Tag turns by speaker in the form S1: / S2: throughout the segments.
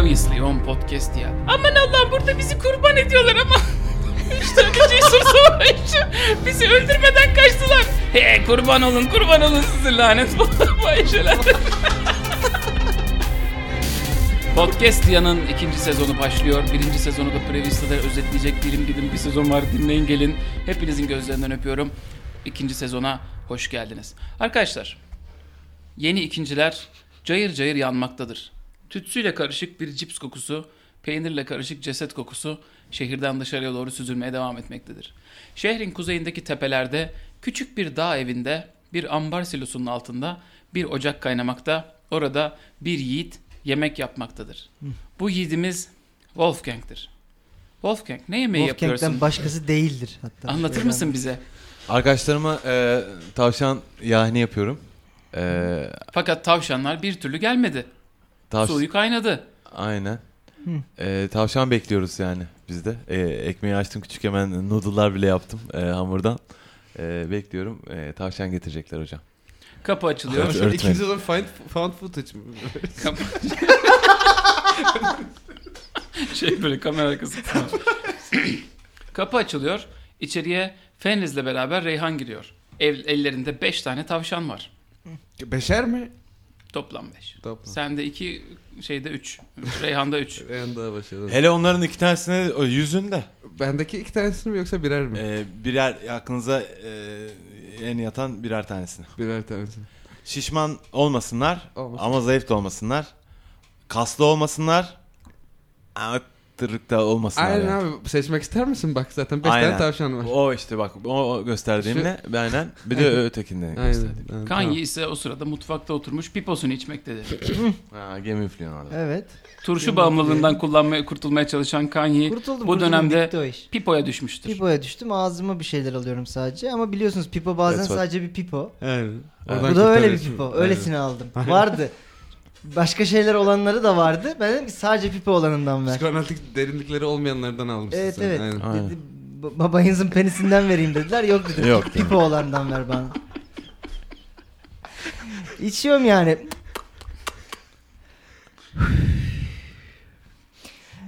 S1: obviously home podcast ya. Aman Allah'ım burada bizi kurban ediyorlar ama. Üç tane cesur savaşçı bizi öldürmeden kaçtılar. He kurban olun kurban olun sizin lanet fahişeler. Podcast Yan'ın ikinci sezonu başlıyor. Birinci sezonu da Prevista'da özetleyecek dilim dilim bir sezon var dinleyin gelin. Hepinizin gözlerinden öpüyorum. İkinci sezona hoş geldiniz. Arkadaşlar Yeni ikinciler cayır cayır yanmaktadır. Tütsüyle karışık bir cips kokusu, peynirle karışık ceset kokusu şehirden dışarıya doğru süzülmeye devam etmektedir. Şehrin kuzeyindeki tepelerde küçük bir dağ evinde bir ambar silosunun altında bir ocak kaynamakta. Orada bir yiğit yemek yapmaktadır. Bu yiğidimiz Wolfgang'tir. Wolfgang ne yemeği
S2: Wolfgang'den
S1: yapıyorsun?
S2: başkası değildir hatta.
S1: Anlatır
S2: Şöyle
S1: mısın bize?
S3: Arkadaşlarıma e, tavşan yahni yapıyorum. E,
S1: Fakat tavşanlar bir türlü gelmedi.
S3: tavş-
S1: Suyu kaynadı.
S3: Aynen.
S2: Hı.
S3: E, tavşan bekliyoruz yani biz de. E, ekmeği açtım küçük hemen noodle'lar bile yaptım e, hamurdan. E, bekliyorum. E, tavşan getirecekler hocam.
S1: Kapı açılıyor.
S3: Evet,
S4: Şöyle
S3: öğretmenim.
S4: İkinci sezon find, found footage mi?
S1: şey böyle kamera arkası. falan. Kapı açılıyor. İçeriye Fenriz'le beraber Reyhan giriyor. Ev, ellerinde 5 tane tavşan var.
S4: Beşer mi?
S1: Toplam 5.
S4: Tamam.
S1: Sende 2, şeyde 3. Reyhan'da 3.
S4: En daha başarılı.
S3: Hele onların iki tanesini o yüzünde.
S4: Bendeki iki tanesini mi yoksa birer mi?
S3: E, birer aklınıza e, en yatan birer tanesini.
S4: Birer tanesini.
S3: Şişman olmasınlar
S4: Olmasın.
S3: ama zayıf da olmasınlar. Kaslı olmasınlar ama tırık da olmasınlar.
S4: Aynen
S3: yani.
S4: abi seçmek ister misin? Bak zaten beş
S3: Aynen.
S4: tane tavşan var.
S3: O işte bak o o gösterdiğimle aynen bir de ötekinden
S4: Aynen.
S3: gösterdiğim.
S4: aynen,
S1: Kanye
S4: tamam.
S1: ise o sırada mutfakta oturmuş piposunu içmektedir.
S3: Ha, gemi üflüyor
S2: ben-
S3: orada.
S2: Evet.
S1: Turşu bağımlılığından kullanmaya, kurtulmaya çalışan Kanye
S2: Kurtuldum.
S1: bu
S2: kurtuldum,
S1: dönemde-
S2: bitti o iş.
S1: pipoya düşmüştür.
S2: Pipoya düştüm. Ağzıma bir şeyler alıyorum sadece. Ama biliyorsunuz pipo bazen
S3: Evet, bak.
S2: sadece bir pipo.
S4: Aynen.
S2: Bu da öyle bir
S4: kurtarıyorsun.
S2: pipo.
S4: Aynen.
S2: Öylesini aldım. Vardı. Başka şeyler olanları da vardı. Ben dedim ki sadece pipo olanından ver.
S4: Psikoanalitik derinlikleri olmayanlardan almışsın
S2: Evet
S4: sen.
S2: evet.
S4: Aynen.
S3: Aynen.
S2: Dedi, "Ba- babayınızın penisinden vereyim dediler. Yok dedim.
S3: Yok
S2: pipo olandan ver bana. İçiyorum yani.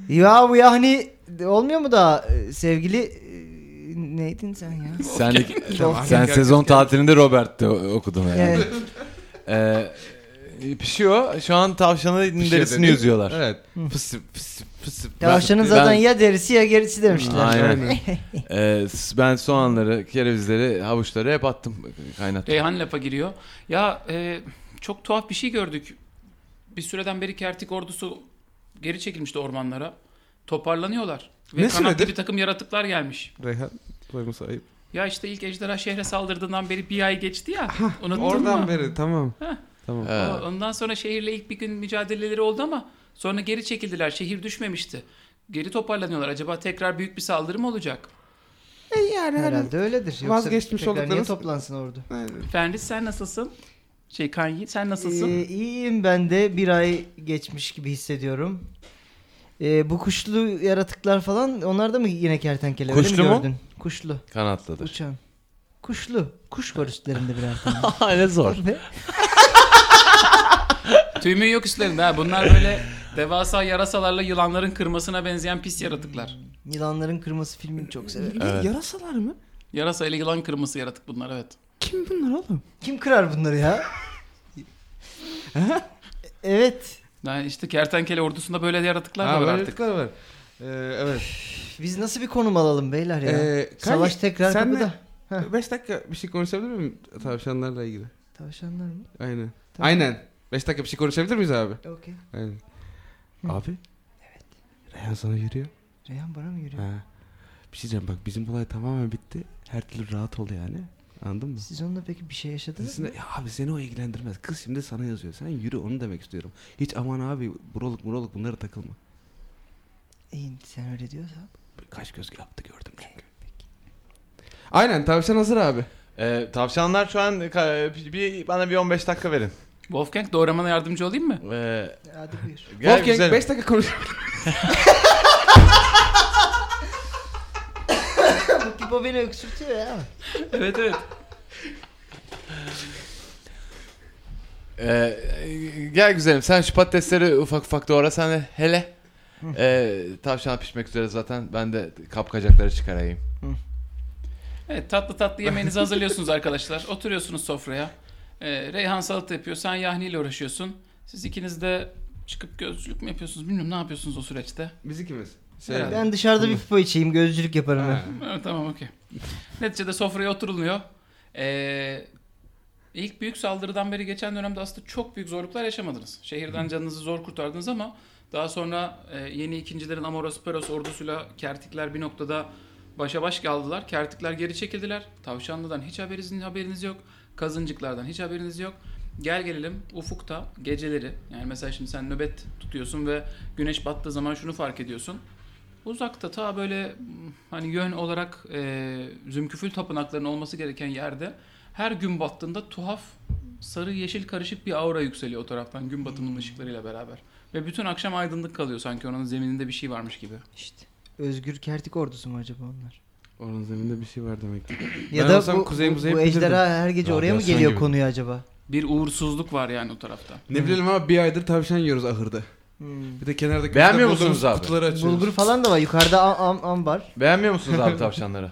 S2: ya bu yani olmuyor mu daha e, sevgili e, neydin sen ya?
S3: Sen,
S2: Tamam.
S3: sen sezon tatilinde Robert'te o- okudun yani.
S2: Evet.
S3: Ee, pişiyor. Şu an tavşanın
S4: Bir şey
S3: derisini
S4: dedi.
S3: yüzüyorlar.
S4: Evet. Fısı fısı fısı.
S2: Tavşanın
S3: ben-
S2: zaten ya derisi ya gerisi demişler.
S3: Aynen. Ee, s- ben soğanları, kerevizleri, havuçları hep attım
S4: E,
S3: kaynattım.
S1: Reyhan lafa giriyor. Ya e, çok tuhaf bir şey gördük. Bir süreden beri kertik ordusu geri çekilmişti ormanlara. Toparlanıyorlar. Ve
S4: Ne
S1: kanatlı
S4: süredir?
S1: bir takım yaratıklar gelmiş.
S4: Reyhan. Koyması ayıp.
S1: Ya işte ilk ejderha şehre saldırdığından beri bir ay geçti ya. Unuttun
S4: Oradan
S1: mu?
S4: beri tamam.
S1: Heh.
S4: Tamam.
S3: Ee,
S1: O- Ondan sonra şehirle ilk bir gün mücadeleleri oldu ama sonra geri çekildiler. Şehir düşmemişti. Geri toparlanıyorlar. Acaba tekrar büyük bir saldırı mı olacak?
S4: yani
S2: Herhalde öyledir. Yoksa
S4: Vazgeçmiş
S2: tekrar niye
S4: olduklarınız-
S2: toplansın orada?
S4: Aynen.
S1: Fenris sen nasılsın? Şey Kanye sen nasılsın?
S4: Ee,
S2: Ee, iyiyim ben de. Bir ay geçmiş gibi hissediyorum. Ee, bu kuşlu yaratıklar falan onlar da mı yine kertenkele? öyle
S3: Kuşlu
S2: mi
S3: mu?
S2: gördün? Kuşlu.
S3: Kanatlıdır.
S2: Uçan. Kuşlu. Kuş var üstlerinde birer tane.
S3: ne zor.
S2: Ve
S1: Tüymü yok üstlerinde ha. Bunlar böyle devasa yarasalarla yılanların kırmasına benzeyen pis yaratıklar.
S2: Yılanların Kırması filmini çok severim.
S3: Evet.
S4: Yarasalar mı?
S1: Yarasa ile yılan kırması yaratık bunlar evet.
S4: Kim bunlar oğlum?
S2: Kim kırar bunları ya? evet.
S1: Yani işte kertenkele ordusunda böyle yaratıklar da
S4: Ha,
S1: var
S4: böyle
S1: artık.
S4: tıklar var. Ee, evet.
S2: Biz nasıl bir konum alalım beyler ya?
S4: Ee,
S2: Savaş
S4: Kanye,
S2: tekrar
S4: senle
S2: kapıda. Heh.
S4: 5 dakika bir şey konuşabilir miyim tavşanlarla ilgili?
S2: Tavşanlar mı?
S4: Aynen.
S2: Tamam.
S4: Aynen. 5 dakika bir şey konuşabilir miyiz abi?
S2: Okey.
S4: Aynen. Abi. Evet. Reyhan sana yürüyor.
S2: Reyhan bana mı yürüyor?
S4: Ha. Bir şey diyeceğim bak bizim olay tamamen bitti. Her türlü rahat ol yani. Anladın mı?
S2: Siz onunla peki bir şey yaşadınız mı?
S4: Sizinle, ya abi seni o ilgilendirmez. Kız şimdi sana yazıyor. Sen yürü onu demek istiyorum. Hiç aman abi buroluk muroluk bunlara takılma.
S2: İyi sen öyle diyorsan.
S4: Kaç göz yaptı gördüm çünkü. Aynen tavşan hazır abi.
S3: Ee, tavşanlar şu an ka- bir, bana bir 15 dakika verin.
S1: Wolfgang doğramana yardımcı olayım mı?
S3: Ee,
S2: Hadi buyur.
S3: gel
S4: Wolfgang
S3: güzelim.
S4: 5 dakika konuş.
S2: Bu pipo beni öksürtüyor ya.
S1: evet evet.
S3: Ee, gel güzelim sen şu patatesleri ufak ufak doğra sen de hele. Ee, tavşan pişmek üzere zaten ben de kapkacakları çıkarayım.
S1: Evet tatlı tatlı yemeğinizi hazırlıyorsunuz arkadaşlar. Oturuyorsunuz sofraya. Ee, Reyhan salata yapıyor. Sen Yahni ile uğraşıyorsun. Siz ikiniz de çıkıp gözcülük mü yapıyorsunuz bilmiyorum ne yapıyorsunuz o süreçte.
S4: Biz ikimiz.
S3: Şey,
S1: Herhalde.
S2: Ben dışarıda bir pipo içeyim gözcülük yaparım.
S4: Ha.
S2: ben.
S1: Evet, tamam okey. Neticede sofraya oturuluyor. Ee, ilk büyük saldırıdan beri geçen dönemde aslında çok büyük zorluklar yaşamadınız. Şehirden canınızı zor kurtardınız ama daha sonra e, yeni ikincilerin Amoros-Peros ordusuyla Kertikler bir noktada başa baş kaldılar. Kertikler geri çekildiler. Tavşanlı'dan hiç haberiniz, haberiniz yok. Kazıncıklardan hiç haberiniz yok. Gel gelelim ufukta geceleri yani mesela şimdi sen nöbet tutuyorsun ve güneş battığı zaman şunu fark ediyorsun. Uzakta ta böyle mm, hani yön olarak e, Zümküfül tapınaklarının olması gereken yerde her gün battığında tuhaf sarı yeşil karışık bir aura yükseliyor o taraftan gün
S2: Hmm.
S1: batımının ışıklarıyla beraber. Ve bütün akşam aydınlık kalıyor sanki oranın zemininde bir şey varmış gibi.
S2: İşte. Özgür Kertik ordusu mu acaba onlar?
S4: Onun zeminde bir şey var demek ki.
S2: Ya
S4: Ben
S2: da
S4: olsam
S2: bu,
S4: kuzey muzey
S2: bu
S4: bilirdim.
S2: ejderha her gece oraya mı
S3: Radyasyon
S2: geliyor
S3: gibi.
S2: konuyu acaba?
S1: Bir uğursuzluk var yani o tarafta.
S4: Ne bileyim ama bir aydır tavşan yiyoruz ahırda.
S2: Hmm.
S4: Bir de kenardaki
S3: Beğenmiyor
S4: bulduğumuz
S3: musunuz abi?
S4: Kutuları açıyoruz.
S2: Bulgur falan da var yukarıda am, am, ambar.
S3: Beğenmiyor musunuz abi tavşanları?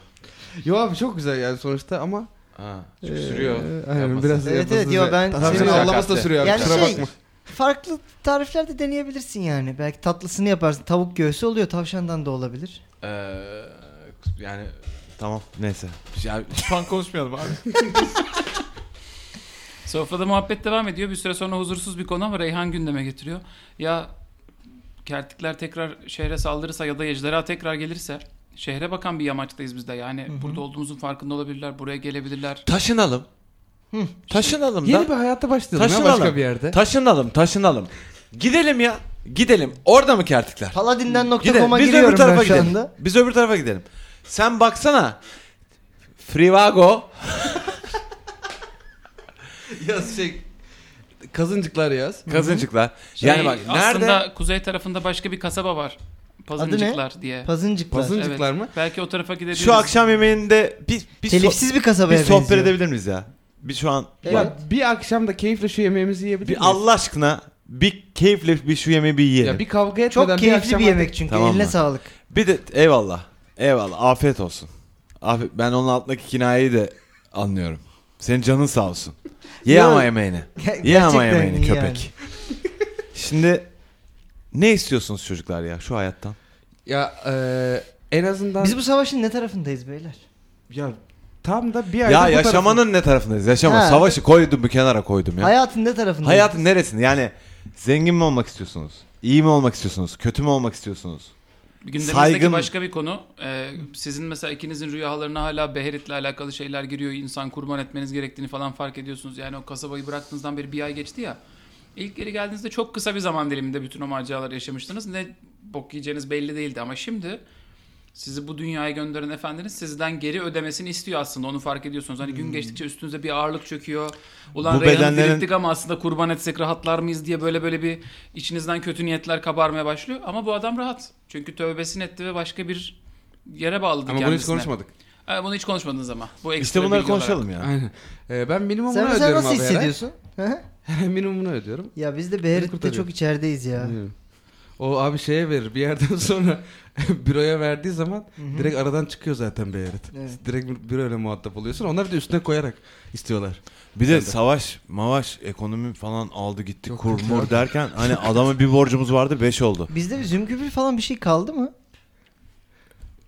S4: Yo abi çok güzel yani sonuçta ama
S3: Ha,
S4: Ee,
S3: çünkü sürüyor.
S4: aynen,
S3: yapması.
S4: biraz da
S2: Evet,
S4: yapması
S2: evet, yo,
S4: da-
S2: ben-
S4: Tavşanın
S2: Seni-
S4: avlaması da
S3: Şakaktı.
S4: sürüyor abi.
S2: Yani
S4: kusura
S2: şey-
S4: bakma.
S2: Farklı tarifler de deneyebilirsin yani. Belki tatlısını yaparsın. Tavuk göğsü oluyor tavşandan da olabilir.
S3: Ee, yani
S4: Tamam.
S3: neyse.
S4: Yani şu an konuşmayalım abi.
S1: Sofrada muhabbet devam ediyor. Bir süre sonra huzursuz bir konu ama Reyhan gündeme getiriyor. Ya kertikler tekrar şehre saldırırsa ya da ejderha tekrar gelirse şehre bakan bir yamaçtayız biz de. Yani
S2: hı.
S1: burada olduğumuzun farkında olabilirler. Buraya gelebilirler.
S3: Taşınalım.
S2: Hı.
S3: Taşınalım da.
S4: Yeni bir hayata başlayalım ya
S3: Taşınalım.
S4: başka bir yerde.
S3: Taşınalım, taşınalım. Gidelim ya. Gidelim. Orada mı kertikler? Gidelim.
S2: Paladinden.com'a
S3: Biz öbür
S2: giriyorum
S3: tarafa
S2: ben şu
S3: gidelim.
S2: anda.
S3: Biz öbür tarafa gidelim. Sen baksana. Frivago.
S4: yaz şey kazıncıklar yaz.
S3: Kazıncıklar. yani
S1: Şey,
S3: bak nerede?
S1: Aslında kuzey tarafında başka bir kasaba var. Pazıncıklar diye.
S2: Pazıncıklar.
S4: Pazın- Pazıncıklar mı?
S1: Belki o tarafa gidebiliriz.
S3: Şu akşam yemeğinde bir, bir, so-
S2: Telifsiz bir
S3: bir
S2: kasabaya
S3: sohbet
S2: benziyor.
S3: edebilir miyiz ya? Bir şu an
S2: Evet.
S4: Ya bir akşam da keyifle şu yemeğimizi yiyebilir
S3: bir
S4: miyiz?
S3: Allah aşkına bir keyifle bir şu yemeği bir yiyelim.
S4: Ya
S3: bir...
S4: bir kavga etmeden
S2: Çok keyifli
S4: akşam
S2: bir yemek çünkü.
S3: Tamam
S2: Eline
S3: mı?
S2: sağlık.
S3: de eyvallah. Eyvallah. Afiyet olsun. Afiyet. Ben onun altındaki kinayeyi de anlıyorum. Senin canın sağ olsun. Ye
S2: Ya-
S3: ama yemeğini. Ye
S2: Gerçekten
S3: ama yemeğini
S2: iyi
S3: köpek.
S2: yani.
S3: Şimdi ne istiyorsunuz çocuklar ya şu hayattan?
S4: Ya eee, en azından
S2: Biz bu savaşın ne tarafındayız beyler?
S4: ya tam da bir ayda
S3: Ya
S4: bu tarafı-
S3: yaşamanın ne tarafındayız? Yaşama.
S2: Ha.
S3: Savaşı koydum bir kenara koydum ya.
S2: Hayatın ne tarafındayız?
S3: Hayatın neresinde? Yani zengin mi olmak istiyorsunuz? İyi mi olmak istiyorsunuz? Kötü mü olmak istiyorsunuz?
S1: Gündemimizdeki
S3: Saygın-
S1: başka bir konu. Ee, sizin mesela ikinizin rüyalarına hala Beherit'le alakalı şeyler giriyor. İnsan kurban etmeniz gerektiğini falan fark ediyorsunuz. Yani o kasabayı bıraktığınızdan beri bir ay geçti ya. İlk geri geldiğinizde çok kısa bir zaman diliminde bütün o maceraları yaşamıştınız. Ne bok yiyeceğiniz belli değildi ama şimdi sizi bu dünyaya gönderen efendiniz sizden geri ödemesini istiyor aslında. Onu fark ediyorsunuz. Hani gün geçtikçe üstünüze bir ağırlık çöküyor. Ulan
S3: Hmm. Bu
S1: Reyhan'ı
S3: bedenlerin-
S1: dirilttik ama aslında kurban etsek rahatlar mıyız diye böyle böyle bir içinizden kötü niyetler kabarmaya başlıyor. Ama bu adam rahat. Çünkü tövbesini etti ve başka bir yere bağladı
S4: Ama bunu hiç
S1: kendisine.
S4: konuşmadık.
S1: Ha, bunu hiç konuşmadınız ama. Bu
S3: İşte
S1: ekstra
S3: bunları
S1: bilgi olarak.
S3: konuşalım ya.
S4: Aynen. Eee, ben minimumunu
S2: Sen mesela
S4: ödüyorum
S2: nasıl
S4: abi. her ay.
S2: hissediyorsun? Hı hı.
S4: Her ay minimumunu ödüyorum.
S2: ya biz de
S4: Beni
S2: Beherit'te
S4: kurtarıyor.
S2: çok içerideyiz ya.
S4: Bilmiyorum. O abi şeye verir bir yerden sonra büroya verdiği zaman direkt aradan çıkıyor zaten bir evet.
S2: Evet.
S4: Direkt bir- büroyla muhatap oluyorsun. Onlar bir de üstüne koyarak istiyorlar.
S3: Bir de savaş, mavaş, ekonomi falan aldı gitti
S4: Çok kötü
S3: kurmur
S4: abi.
S3: derken hani adama bir borcumuz vardı 5 oldu.
S2: Bizde bir zümkübül falan bir şey kaldı mı?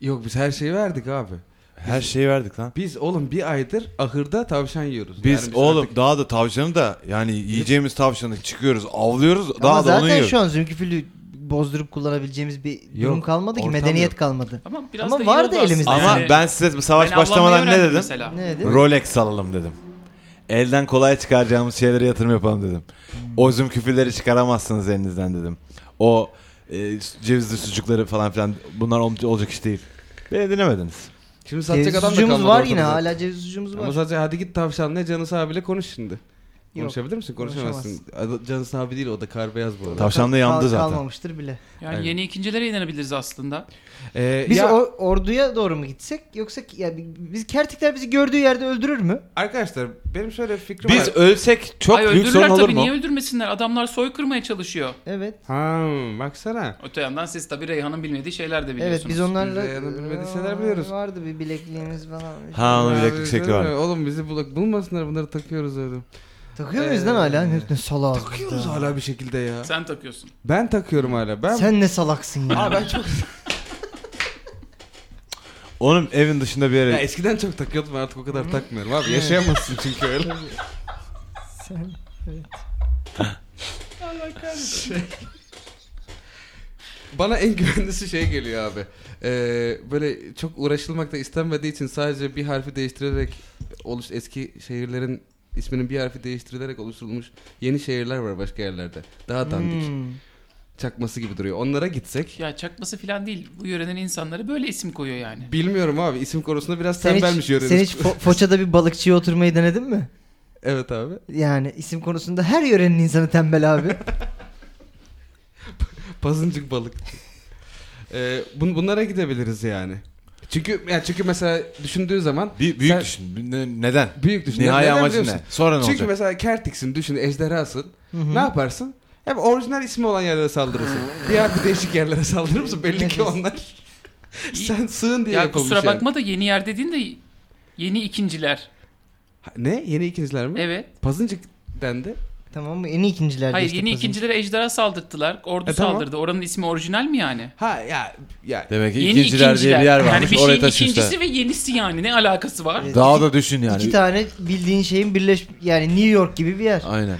S4: Yok biz her şeyi verdik abi.
S3: Her şeyi verdik lan.
S4: Biz oğlum bir aydır ahırda tavşan yiyoruz.
S3: Biz
S4: Yani
S3: oğlum
S4: artık-
S3: daha da tavşanı da yani yiyeceğimiz tavşanı çıkıyoruz avlıyoruz daha
S2: Ama
S3: da onu
S2: zaten
S3: yiyoruz.
S2: şu an zümkübülü bozdurup kullanabileceğimiz bir durum
S4: Yok,
S2: kalmadı ki.
S4: ortam
S2: Medeniyet
S4: yok.
S2: kalmadı.
S1: Ama biraz
S2: Ama
S1: da iyi
S2: vardı
S1: oldu aslında.
S2: elimizde.
S3: Ama
S1: Yani
S3: ben size bu savaş
S1: ben
S3: başlamadan
S1: avlanmayı
S3: ne
S1: öğrendim
S3: dedim?
S1: Mesela.
S2: Ne dedi?
S3: Rolex alalım dedim. Elden kolay çıkaracağımız şeylere yatırım yapalım dedim. O züm küfürleri çıkaramazsınız elinizden dedim. O e, cevizli sucukları falan filan bunlar ol- olacak iş değil. Beni dinlemediniz.
S4: Şimdi satacak
S2: Ceviz
S4: adam da
S2: sucuğumuz
S4: kalmadı
S2: var yine
S4: ortada.
S2: hala ceviz sucuğumuz var.
S4: Ama sadece hadi git tavşanla Canıs abiyle konuş şimdi. Konuşabilir misin? Konuşamazsın. Ad- Cansın abi değil o da kar beyaz bu arada.
S3: Tavşan da yandı
S2: Kal-
S3: zaten.
S2: Kalmamıştır bile.
S1: Yani
S4: Aynen.
S1: yeni ikincilere inebiliriz aslında.
S4: Ee,
S2: Biz
S4: ya-
S2: or- orduya doğru mu gitsek yoksa ki- ya bi- biz kertikler bizi gördüğü yerde öldürür mü?
S4: Arkadaşlar benim şöyle bir fikrim
S3: Biz
S4: var.
S3: ölsek çok
S1: Ay
S3: büyük
S1: öldürürler
S3: sorun olur
S1: tabii
S3: mu?
S1: niye öldürmesinler? Adamlar soykırmaya çalışıyor.
S2: Evet.
S4: Ha baksana.
S1: Öte yandan siz tabii Reyhan'ın bilmediği şeyler de biliyorsunuz.
S2: Evet biz onlarla e,
S4: Biz de yanı bilmediği şeyler biliyoruz.
S2: Vardı bir bilekliğimiz falan.
S3: Ha onun
S4: Ya,
S3: bileklik şekli
S4: değil mi?
S3: şey var.
S4: Oğlum bizi bulak bulmasınlar bunları takıyoruz öyle.
S2: Takıyor
S4: Ee,
S2: muyuz lan hala? Ne, ne salak.
S4: Takıyoruz hala bir şekilde ya.
S1: Sen takıyorsun.
S4: Ben takıyorum hala. Ben
S2: Sen ne salaksın ya.
S4: Aa, ben çok
S3: Onun evin dışında bir
S4: ya
S3: yere...
S4: eskiden çok takıyordum ben artık o kadar takmıyorum abi. Yaşayamazsın çünkü öyle.
S2: Sen Hmm.
S4: Bana en güvenlisi şey geliyor abi. Ee, böyle çok uğraşılmak da istenmediği için sadece bir harfi değiştirerek oluş eski şehirlerin isminin bir harfi değiştirilerek oluşturulmuş yeni şehirler var başka yerlerde. Daha dandik.
S2: Hmm.
S4: Çakması gibi duruyor. Onlara gitsek
S1: Ya çakması falan değil. Bu yörenin insanları böyle isim koyuyor yani.
S4: bilmiyorum abi isim konusunda biraz
S2: Sen
S4: tembelmiş
S2: hiç,
S4: yöreniz.
S2: sen hiç fo- Foça'da bir balıkçıya oturmayı denedin mi?
S4: Evet abi.
S2: Yani isim konusunda her yörenin insanı tembel abi.
S4: Pazıncık balık. ee, bun- bunlara gidebiliriz yani. Çünkü yani çünkü mesela düşündüğü zaman
S3: Bir büyük
S4: Sen-
S3: düşün. Ne- Neden?
S4: büyük düşün.
S3: Nihai
S4: Neden
S3: amacın
S4: biliyor
S3: ne?
S4: musun?
S3: Sonra ne
S4: Çünkü
S3: olacak?
S4: mesela Kertik'sin düşün ejderhasın.
S2: Hı hı.
S4: Ne yaparsın? Hem orijinal ismi olan yerlere saldırırsın. Diğer bir değişik yerlere saldırır mısın? Belli ki
S2: Nefes.
S4: onlar. Sen sığın diye
S1: ya
S4: yapılmış
S1: kusura
S4: yani.
S1: bakma da yeni yer dediğin de yeni ikinciler.
S4: Ha, Ne? Yeni ikinciler mi?
S1: Evet.
S4: Pazıncık dendi.
S2: tamam mı? Yeni ikinciler.
S1: Hayır
S2: işte
S1: yeni
S2: kızım.
S1: ikincilere ejderha saldırttılar. Ordu
S4: E, tamam.
S1: saldırdı. Oranın ismi orijinal mi yani?
S4: Ha ya ya
S3: Demek ki
S1: Yeni
S3: ikinciler diye bir yer varmış.
S1: Yani bir
S3: Oraya
S1: şeyin
S3: taşımışlar.
S1: ikincisi ve yenisi yani. Ne alakası var?
S2: Evet.
S3: Daha da düşün yani.
S2: İki tane bildiğin şeyin birleş yani New York gibi bir yer.
S3: Aynen.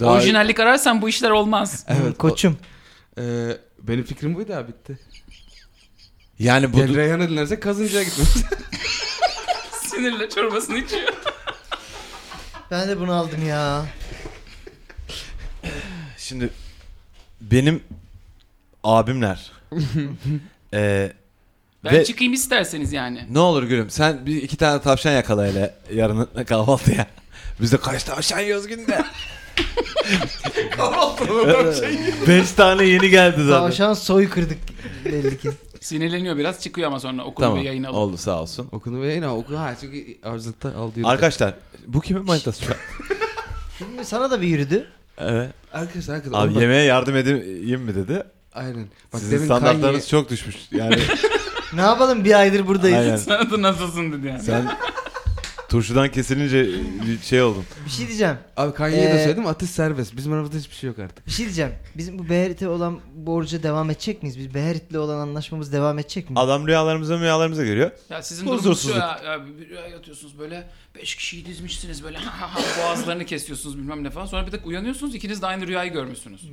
S1: Orijinallik ararsan bu işler olmaz.
S2: Evet, Koçum.
S4: Ee, benim fikrim buydu abi bitti.
S3: Yani bu
S4: Yani Reyhan'ı dinlersek Kazıncı'ya gitmemiz.
S1: Sinirle çorbasını içiyor.
S2: Ben de bunu aldım ya.
S3: şimdi benim abimler. Ee,
S1: Ben
S3: Ve-
S1: çıkayım isterseniz yani.
S3: ne olur gülüm sen bir iki tane tavşan yakala hele yarın kahvaltıya. Biz de kaç tavşan yiyoruz günde? Beş tane yeni geldi zaten.
S2: Tavşan soy kırdık belli ki.
S1: Sinirleniyor biraz çıkıyor ama sonra okulu
S3: Tamam
S1: ve yayına alıp.
S3: oldu sağ olsun.
S4: Okunu ve yine oku. Ha çünkü avcılıkta al diyor.
S3: Arkadaşlar bu kimin manitası?
S2: Şimdi sana da bir yürüdü.
S3: evet.
S4: Arkadaşlar arkadaşlar.
S3: Abi
S4: oğlum bak-
S3: yemeğe yardım edeyim mi dedi.
S4: Aynen. Bak
S3: Sizin
S4: demin
S3: standartlarınız
S4: Kanye-
S3: çok düşmüş. Yani
S2: Ne yapalım bir aydır buradayız.
S3: aynen.
S1: Sana da nasılsın dedi yani.
S3: Sen turşudan kesilince bir şey oldun.
S2: Bir şey diyeceğim.
S4: Abi Kanye'ye
S2: Ee,
S4: de söyledim atış serbest. Bizim aramızda hiçbir şey yok artık.
S2: Bir şey diyeceğim. Bizim bu Beherit'e olan borca devam edecek miyiz? Biz Beherit'le olan anlaşmamız devam edecek mi?
S3: Adam rüyalarımıza rüyalarımıza giriyor.
S1: Ya sizin durumunuz şu
S3: Huzursuzluk.
S1: ya, ya bir rüya yatıyorsunuz böyle beş kişiyi dizmişsiniz böyle ha ha ha, boğazlarını kesiyorsunuz bilmem ne falan. Sonra bir de uyanıyorsunuz ikiniz de aynı rüyayı görmüşsünüz.
S4: Hmm.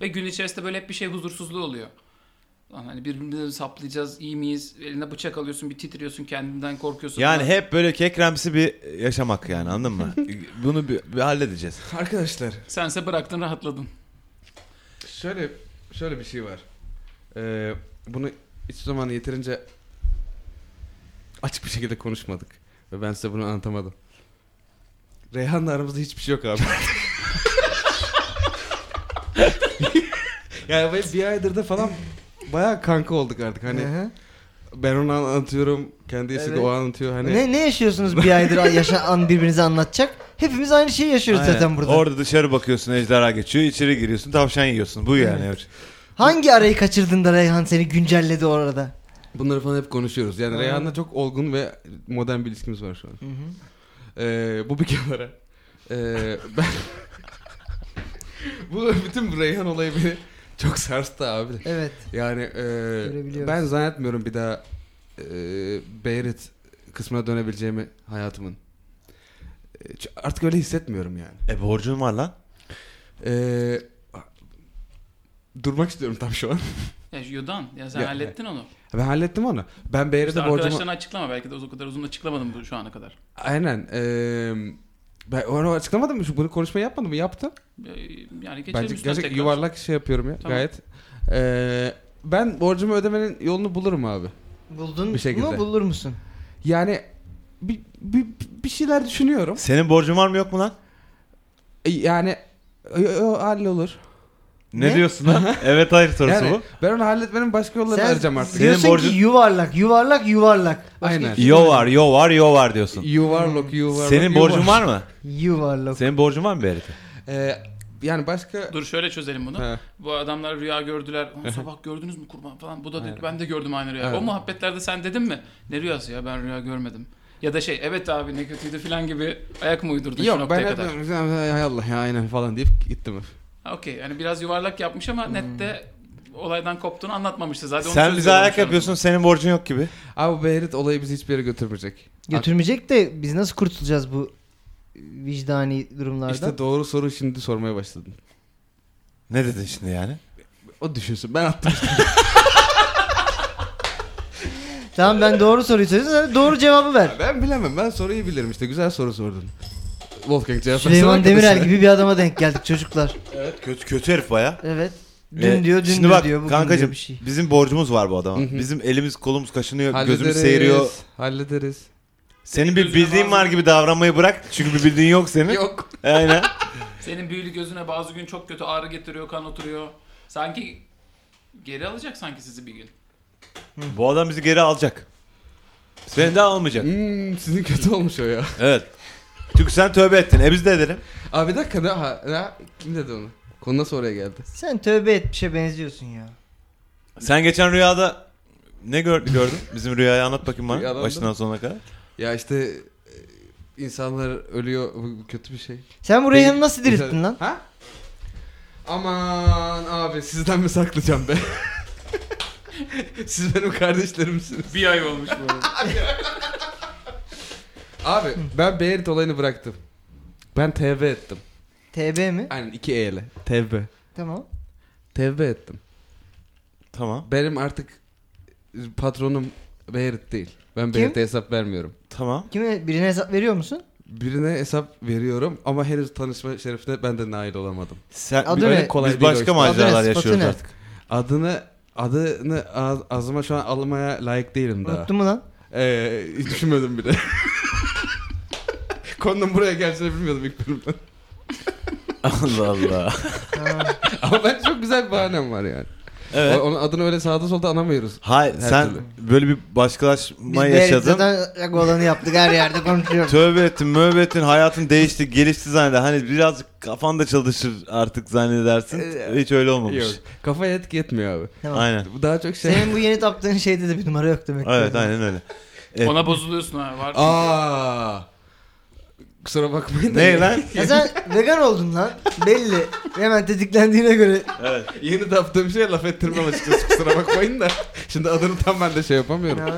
S1: Ve gün içerisinde böyle hep bir şey huzursuzluğu oluyor. Lan hani birbirimizi saplayacağız iyi miyiz? Eline bıçak alıyorsun bir titriyorsun kendinden korkuyorsun.
S3: Yani
S1: falan.
S3: hep böyle kekremsi bir yaşamak yani anladın mı? Bunu bir, bir halledeceğiz.
S4: Arkadaşlar
S1: Sense bıraktın rahatladın.
S4: şöyle şöyle bir şey var. Ee, bunu hiç zaman yeterince açık bir şekilde konuşmadık. Ve ben size bunu anlatamadım. Reyhan'la aramızda hiçbir şey yok abi. yani böyle bir aydır da falan bayağı kanka olduk artık. Hani
S2: Hı hı.
S4: ben onu anlatıyorum. Kendisi de
S2: Evet.
S4: o anlatıyor. Hani
S2: Ne ne yaşıyorsunuz bir aydır yaşa an birbirinize anlatacak? Hepimiz aynı şeyi yaşıyoruz
S3: Aynen.
S2: zaten burada.
S3: Orada dışarı bakıyorsun ejderha geçiyor içeri giriyorsun tavşan yiyorsun bu yani.
S2: Hangi arayı kaçırdın da Reyhan seni güncelledi orada?
S4: Bunları falan hep konuşuyoruz. Yani
S2: Aynen.
S4: Reyhan'la çok olgun ve modern bir ilişkimiz var şu an.
S2: Hı hı.
S4: Ee, bu bir kenara. Ee, ben... bu bütün bu Reyhan olayı beni çok sarstı abi.
S2: Evet.
S4: Yani e,
S2: Görebiliyoruz.
S4: ben zannetmiyorum bir daha e, Beyrit kısmına dönebileceğimi hayatımın. E, ç- Artık öyle hissetmiyorum yani.
S3: E borcun var lan.
S4: E, durmak istiyorum tam şu an.
S1: Ya Yodan ya sen
S4: Ya,
S1: hallettin onu.
S4: Ben hallettim onu. Ben
S1: İşte
S4: Beyrit'e borcumu...
S1: arkadaşlarına açıklama belki de o kadar uzun açıklamadım bu şu ana kadar.
S4: Aynen. eee ben onu açıklamadım mı? Şu- Bunu konuşmayı yapmadım mı? Yaptım.
S1: Ee, Yani geçelim
S4: Bence
S1: üstüne
S4: gerçek
S1: tekrar.
S4: yuvarlak şey yapıyorum ya
S1: Tamam.
S4: gayet. Eee, ben borcumu ödemenin yolunu bulurum abi.
S2: Buldun
S4: Bir şekilde.
S2: mu bulur musun?
S4: Yani bir, bir, bir şeyler düşünüyorum.
S3: Senin borcun var mı yok mu lan?
S4: E, Yani yo- yo, hallolur.
S3: Ne,
S2: Ne?
S3: diyorsun lan? evet hayır sorusu
S4: Yani
S3: bu.
S4: ben onu halletmenin başka yollarını
S2: Sen
S4: arayacağım artık.
S3: Senin
S2: diyorsun
S3: borcun-
S2: ki yuvarlak, yuvarlak, yuvarlak. Başka
S4: Aynen.
S2: hiçbir şey
S3: Yo
S2: yok.
S3: var, yo var, yo var diyorsun.
S4: Yuvarlak yuvarlak.
S3: Senin borcun var mı?
S2: Yuvarlak.
S3: Senin borcun var mı Berit'e?
S4: Ee, yani başka...
S1: Dur şöyle çözelim bunu.
S4: He.
S1: Bu adamlar rüya gördüler. "Ulan Sabah gördünüz mü kurban falan. Bu da dedi ben de gördüm aynı rüya.
S4: Evet.
S1: O muhabbetlerde sen dedin mi? Ne rüyası ya ben rüya görmedim. Ya da şey evet abi ne kötüydü falan gibi ayak mı uydurdun şu
S4: Yok ben
S1: noktaya kadar?
S4: hep hay Allah ya aynen falan deyip gittim.
S1: Ha, Okey yani biraz yuvarlak yapmış ama nette olaydan koptuğunu anlatmamıştı zaten. onu
S3: Sen bize
S1: çözüyorum
S3: ayak
S1: şu an.
S3: yapıyorsun, senin borcun yok gibi.
S4: Abi bu Berit olayı bizi hiçbir yere götürmeyecek.
S2: Götürmeyecek de biz nasıl kurtulacağız bu vicdani durumlardan?
S4: İşte doğru soru şimdi sormaya başladın.
S3: Ne dedin şimdi yani?
S4: O düşünsün ben attım.
S2: Tamam ben doğru soruyu söylüyorum. Sen de Doğru cevabı ver.
S4: ben bilemem ben soruyu bilirim işte güzel soru sordun. Wolfgang cevap versene
S2: Süleyman
S4: arkadaşa.
S2: Demirel gibi bir adama denk geldik çocuklar.
S3: Evet kötü kötü herif baya.
S2: Evet. Dün
S3: Ee,
S2: diyor, dün
S3: Şimdi bak
S2: diyor, bugün diyor
S3: kankacığım
S2: bir şey.
S3: bizim borcumuz var bu adama.
S4: Hı hı.
S3: Bizim elimiz kolumuz kaşınıyor, gözümüz
S4: Hallederiz,
S3: seyiriyor.
S4: Hallederiz.
S3: Senin bir
S1: Gözüne
S3: bildiğin
S1: bazı-
S3: var gibi davranmayı bırak. Çünkü bir bildiğin yok senin.
S4: Yok.
S3: Aynen.
S1: Senin büyülü gözüne bazı gün çok kötü ağrı getiriyor, kan oturuyor. Sanki geri alacak sanki sizi bir gün.
S3: bu adam bizi geri alacak. Seni de almayacak.
S4: Hmm, sizin kötü olmuş o ya.
S3: evet. Çünkü sen tövbe ettin. E biz de edelim.
S4: Abi bir dakika daha. daha- kim dedi onu? Konu nasıl oraya geldi?
S2: Sen tövbe etmişe benziyorsun ya.
S3: Sen geçen rüyada ne gör- gördün? Bizim rüyayı anlat bakayım bana.
S4: Rüyadan
S3: Başından sonuna kadar.
S4: Ya işte e, insanlar ölüyor. Bu bu kötü bir şey.
S2: Sen bu Reyhan'ı
S4: Benim-
S2: nasıl dirilttin
S4: Güzel-
S2: lan?
S4: Ha? Aman abi sizden mi saklayacağım be? Siz benim kardeşlerimsiniz.
S1: Bir ay olmuş bu arada.
S4: Abi ben Berit olayını bıraktım. Ben tevbe ettim.
S2: TB mi?
S4: Aynen iki eyle. Tevbe.
S2: Tamam.
S4: Tevbe ettim.
S3: Tamam.
S4: Benim artık patronum Berit değil. Ben
S2: Kim?
S4: Berit'e hesap vermiyorum.
S3: Tamam.
S2: Kime birine hesap veriyor musun?
S4: Birine hesap veriyorum ama henüz tanışma şerefine ben de nail olamadım.
S3: Sen
S2: Adı
S3: böyle
S2: ne?
S4: Kolay
S3: biz
S4: değil o
S3: başka
S4: işte.
S3: maceralar
S2: Adres,
S3: yaşıyoruz
S2: spotu ne?
S3: artık.
S4: Adını adını ağ- ağzıma şu an almaya layık değilim daha.
S2: Unuttun mu lan?
S4: Ee, hiç düşünmedim bile. Konunun buraya geleceğini bilmiyordum ilk bölümden.
S3: Allah Allah.
S2: Ha.
S4: Ama ben çok güzel bir bahanem var yani.
S3: Evet.
S4: O- Onun adını öyle sağda solda anamıyoruz.
S3: Hayır
S4: Her
S3: sen
S4: türlü.
S3: böyle bir
S2: Biz
S3: başkalaşma
S2: Beyrek
S3: yaşadın.
S2: zaten olanı yaptık her yerde konuşuyoruz.
S3: Tövbe ettin, mövbe ettin, hayatın değişti, gelişti zanneder. Hani birazcık kafan da çalışır artık zannedersin.
S4: Ee,
S3: Hiç öyle olmamış.
S4: Yok. Kafaya etki etmiyor abi.
S2: Tamam.
S3: Aynen.
S4: Bu daha çok şey...
S2: Senin bu yeni taptığın şeyde de bir numara yok demek. ki.
S3: Evet aynen öyle. Evet.
S1: Ona bozuluyorsun ha. Var.
S4: Aa. Kusura bakmayın. da-
S3: ne lan?
S2: Ya sen vegan oldun lan. Belli. Hemen tetiklendiğine göre.
S3: Evet.
S4: Yeni taptığım şeye laf ettirmem açıkçası kusura bakmayın da. Şimdi adını tam ben de şey yapamıyorum.
S2: Ya,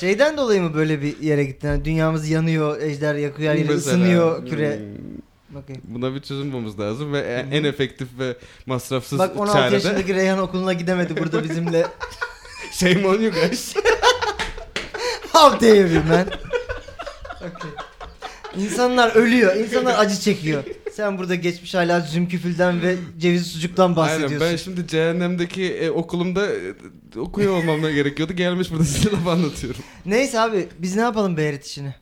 S2: şeyden dolayı mı böyle bir yere gittin? Yani dünyamız yanıyor, ejder yakıyor, her yeri
S4: Mesela,
S2: ısınıyor küre.
S4: hmm,
S2: Bakayım.
S4: Buna bir çözüm bulmamız lazım ve en en efektif ve masrafsız
S2: Bak 16
S4: çare de
S2: yaşındaki Reyhan okuluna gidemedi burada bizimle.
S4: shame on you şey guys.
S2: How dare you man. Okay. İnsanlar ölüyor, insanlar acı çekiyor. Sen burada geçmiş hala zümküfülden ve ceviz sucuktan bahsediyorsun.
S4: Aynen ben şimdi cehennemdeki e, okulumda e, okuyor olmamla gerekiyordu. Gelmiş burada size laf anlatıyorum.
S2: Neyse abi biz ne yapalım Beyrit işini?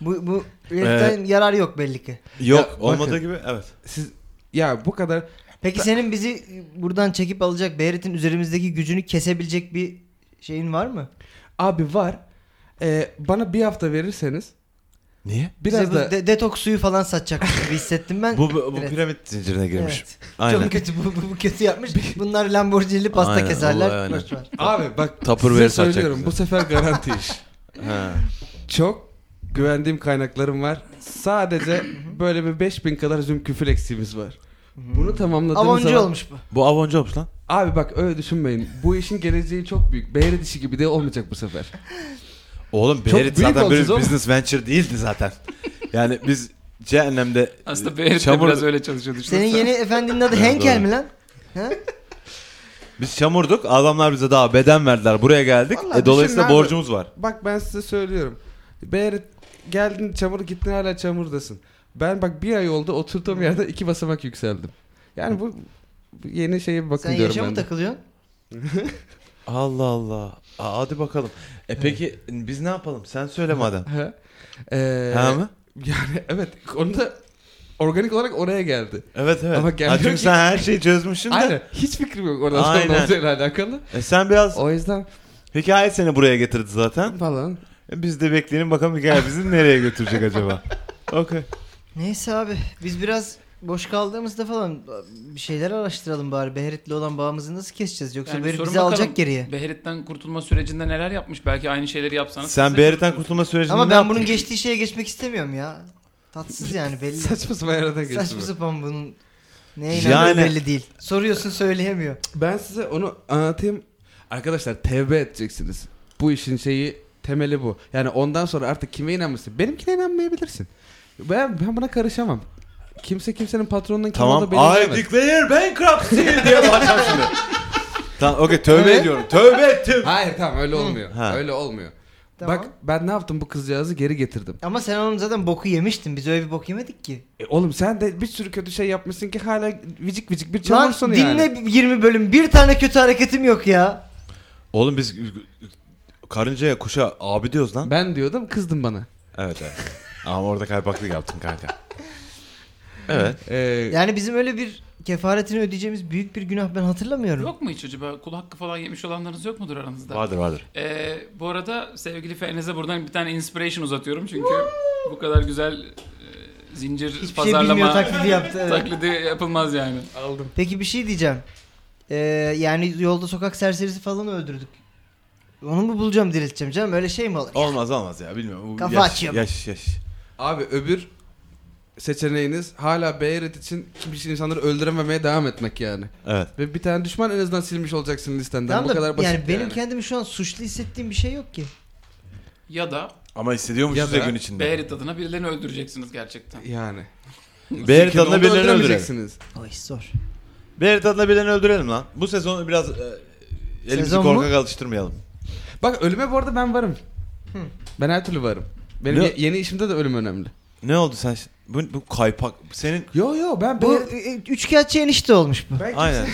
S2: Bu, bu heriften
S3: Ee,
S2: yarar yok belli ki.
S3: Yok
S4: bakın.
S3: olmadığı gibi evet.
S4: Siz ya bu kadar
S2: Peki senin bizi buradan çekip alacak Beyrit'in üzerimizdeki gücünü kesebilecek bir şeyin var mı?
S4: abi var. E, bana bir hafta verirseniz
S3: Niye?
S4: biraz
S2: Bize bu
S4: da
S2: de- detoks suyu falan satacakmış gibi hissettim ben.
S3: Bu, bu, bu
S2: Evet.
S3: piramit zincirine girmiş.
S2: Evet.
S3: Aynen.
S2: Çok kötü bu, bu, bu kötü yapmış. Bunlar Lamborghini pasta
S3: Aynen, vallahi
S2: keserler.
S3: aynen.
S2: Boş ver.
S4: abi bak
S3: Tupperware
S4: size
S3: satacak
S4: söylüyorum
S3: bize.
S4: bu sefer garanti iş.
S3: Ha.
S4: Çok güvendiğim kaynaklarım var. Sadece böyle bir 5000 kadar züm küfür eksiğimiz var. Bunu tamamladığınız
S2: Avoncu
S4: zaman...
S2: olmuş bu.
S3: Bu avoncu olmuş lan.
S4: Abi bak öyle düşünmeyin. Bu işin geleceği çok büyük. Beyret işi gibi de olmayacak bu sefer.
S3: Oğlum
S4: Çok
S3: Berit
S4: büyük
S3: zaten böyle
S4: olacağız
S3: bir
S4: oğlum.
S3: business venture değildi zaten. Yani biz cehennemde
S1: Aslında
S3: e,
S1: Berit
S3: çamur,
S1: biraz öyle çalışıyor.
S2: Senin yeni efendinin adı
S3: Evet,
S2: Henkel
S3: doğru.
S2: mi lan? Ha?
S3: biz çamurduk. Adamlar bize daha beden verdiler. Buraya geldik.
S4: Vallahi
S3: E, dolayısıyla
S4: düşünün abi.
S3: borcumuz var.
S4: Bak ben size söylüyorum. Beyret geldin çamur gittin hala çamurdasın. Ben bak bir ay oldu oturduğum yerde iki basamak yükseldim. Yani bu bu yeni şeye bir bakın
S2: Sen
S4: diyorum
S2: yaşa mı
S4: ben de.
S2: takılıyorsun?
S3: Allah Allah. Aa, hadi bakalım. E peki biz ne yapalım? Sen söyle madem.
S4: He. Ee,
S3: Ha mı?
S4: Yani evet onu da organik olarak oraya geldi.
S3: Evet evet.
S4: Ama
S3: Ama
S4: gelmiyor
S3: çünkü
S4: ki-
S3: sen her şeyi çözmüşsün de.
S4: Aynen. Hiç fikrim yok oradan sonra ne
S3: Aynen.
S4: olacağıyla alakalı.
S3: E sen biraz
S4: O yüzden
S3: hikaye seni buraya getirdi zaten.
S4: falan.
S3: E Biz de bekleyelim bakalım hikaye bizi nereye götürecek acaba. Okey.
S2: Neyse abi biz biraz boş kaldığımızda falan bir şeyler araştıralım bari. Beherit'le olan bağımızı nasıl keseceğiz? Yoksa
S1: Yani bir
S2: Beherit
S1: sorun
S2: bizi
S1: bakalım.
S2: alacak geriye.
S1: Beherit'ten kurtulma sürecinde neler yapmış? Belki aynı şeyleri yapsanız.
S3: Sen
S1: siz
S3: bir
S1: de-
S3: yerden kurtulma sürecinde
S2: Ama
S3: ne
S2: ben
S3: yaptın?
S2: bunun geçtiği şeye geçmek istemiyorum ya. Tatsız yani belli.
S4: Saçma sapan yerden geçti.
S2: Saçma
S4: bu.
S2: sapan bunun neye inandığı
S3: Yani-
S2: belli değil. Soruyorsun söyleyemiyor.
S4: Ben size onu anlatayım. Arkadaşlar tevbe edeceksiniz. Bu işin şeyi temeli bu. Yani ondan sonra artık kime inanmışsın? Benimkine inanmayabilirsin. Ben, ben buna karışamam. Kimse kimsenin patronunun kim
S3: Tamam.
S4: olduğu belirleyemez.
S3: declare bankruptcy diye bağıracağım şimdi. tamam okey tövbe
S2: Evet.
S3: ediyorum. Tövbe ettim.
S4: Hayır tamam öyle olmuyor.
S3: Ha.
S4: Öyle olmuyor.
S2: Tamam.
S4: Bak ben ne yaptım bu kızcağızı geri getirdim.
S2: Ama sen onun zaten boku yemiştin. Biz öyle bir bok yemedik ki.
S4: E oğlum sen de bir sürü kötü şey yapmışsın ki hala vicik vicik bir
S2: Lan
S4: çamursun yani.
S2: dinle 20 bölüm. Bir tane kötü hareketim yok ya.
S3: Oğlum biz karıncaya kuşa abi diyoruz lan.
S4: Ben diyordum kızdın bana.
S3: Evet evet. Ama orada kaypaklık yaptın kanka. Evet.
S4: Ee,
S2: Yani bizim öyle bir kefaretini ödeyeceğimiz büyük bir günah ben hatırlamıyorum.
S1: Yok mu hiç acaba? Kul hakkı falan yemiş olanlarınız yok mudur aranızda?
S3: Vardır vardır.
S1: Ee, bu arada sevgili Fenez'e buradan bir tane inspiration uzatıyorum çünkü bu kadar güzel e, zincir
S2: Hiçbir şey bilmiyor
S1: pazarlama
S2: taklidi yaptı. evet.
S1: taklidi yapılmaz yani.
S4: Aldım.
S2: Peki bir şey diyeceğim. Ee, yani yolda sokak serserisi falan öldürdük. Onu mu bulacağım dirilteceğim canım öyle şey mi olur?
S3: Olmaz olmaz ya bilmiyorum. Bu
S2: Kafa
S3: yaş,
S2: açıyorum.
S3: Yaş yaş.
S4: Abi öbür seçeneğiniz hala Beyret için kimse insanları öldürememeye devam etmek yani.
S3: Evet.
S4: Ve bir tane düşman en azından silmiş olacaksın listenden.
S2: Tamam
S4: Bu
S2: da
S4: kadar basit
S2: yani benim kendimi şu an suçlu hissettiğim bir şey yok ki.
S1: Ya da
S3: Ama hissediyormuşuz
S4: Ya
S3: ya,
S4: da
S3: gün içinde.
S1: Beherit adına birilerini öldüreceksiniz gerçekten.
S4: Yani.
S3: Berit
S4: Çünkü onu
S3: adına birilerini öldürelim.
S4: öldüremeyeceksiniz.
S2: O iş zor.
S3: Berit adına birilerini öldürelim lan. Bu sezon biraz e, elimizi
S2: Sezon mu?
S3: korkak alıştırmayalım.
S4: Bak ölüme bu arada ben varım. Ben her türlü varım. Benim
S3: Ne-
S4: ye- yeni işimde de ölüm önemli.
S3: Ne oldu sen? şi- Bu, bu kaypak. Senin...
S4: Yo yo ben
S2: Bu
S4: Beyret...
S2: e, e, üçkağıtçı enişte olmuş bu.
S4: Ben
S3: Aynen.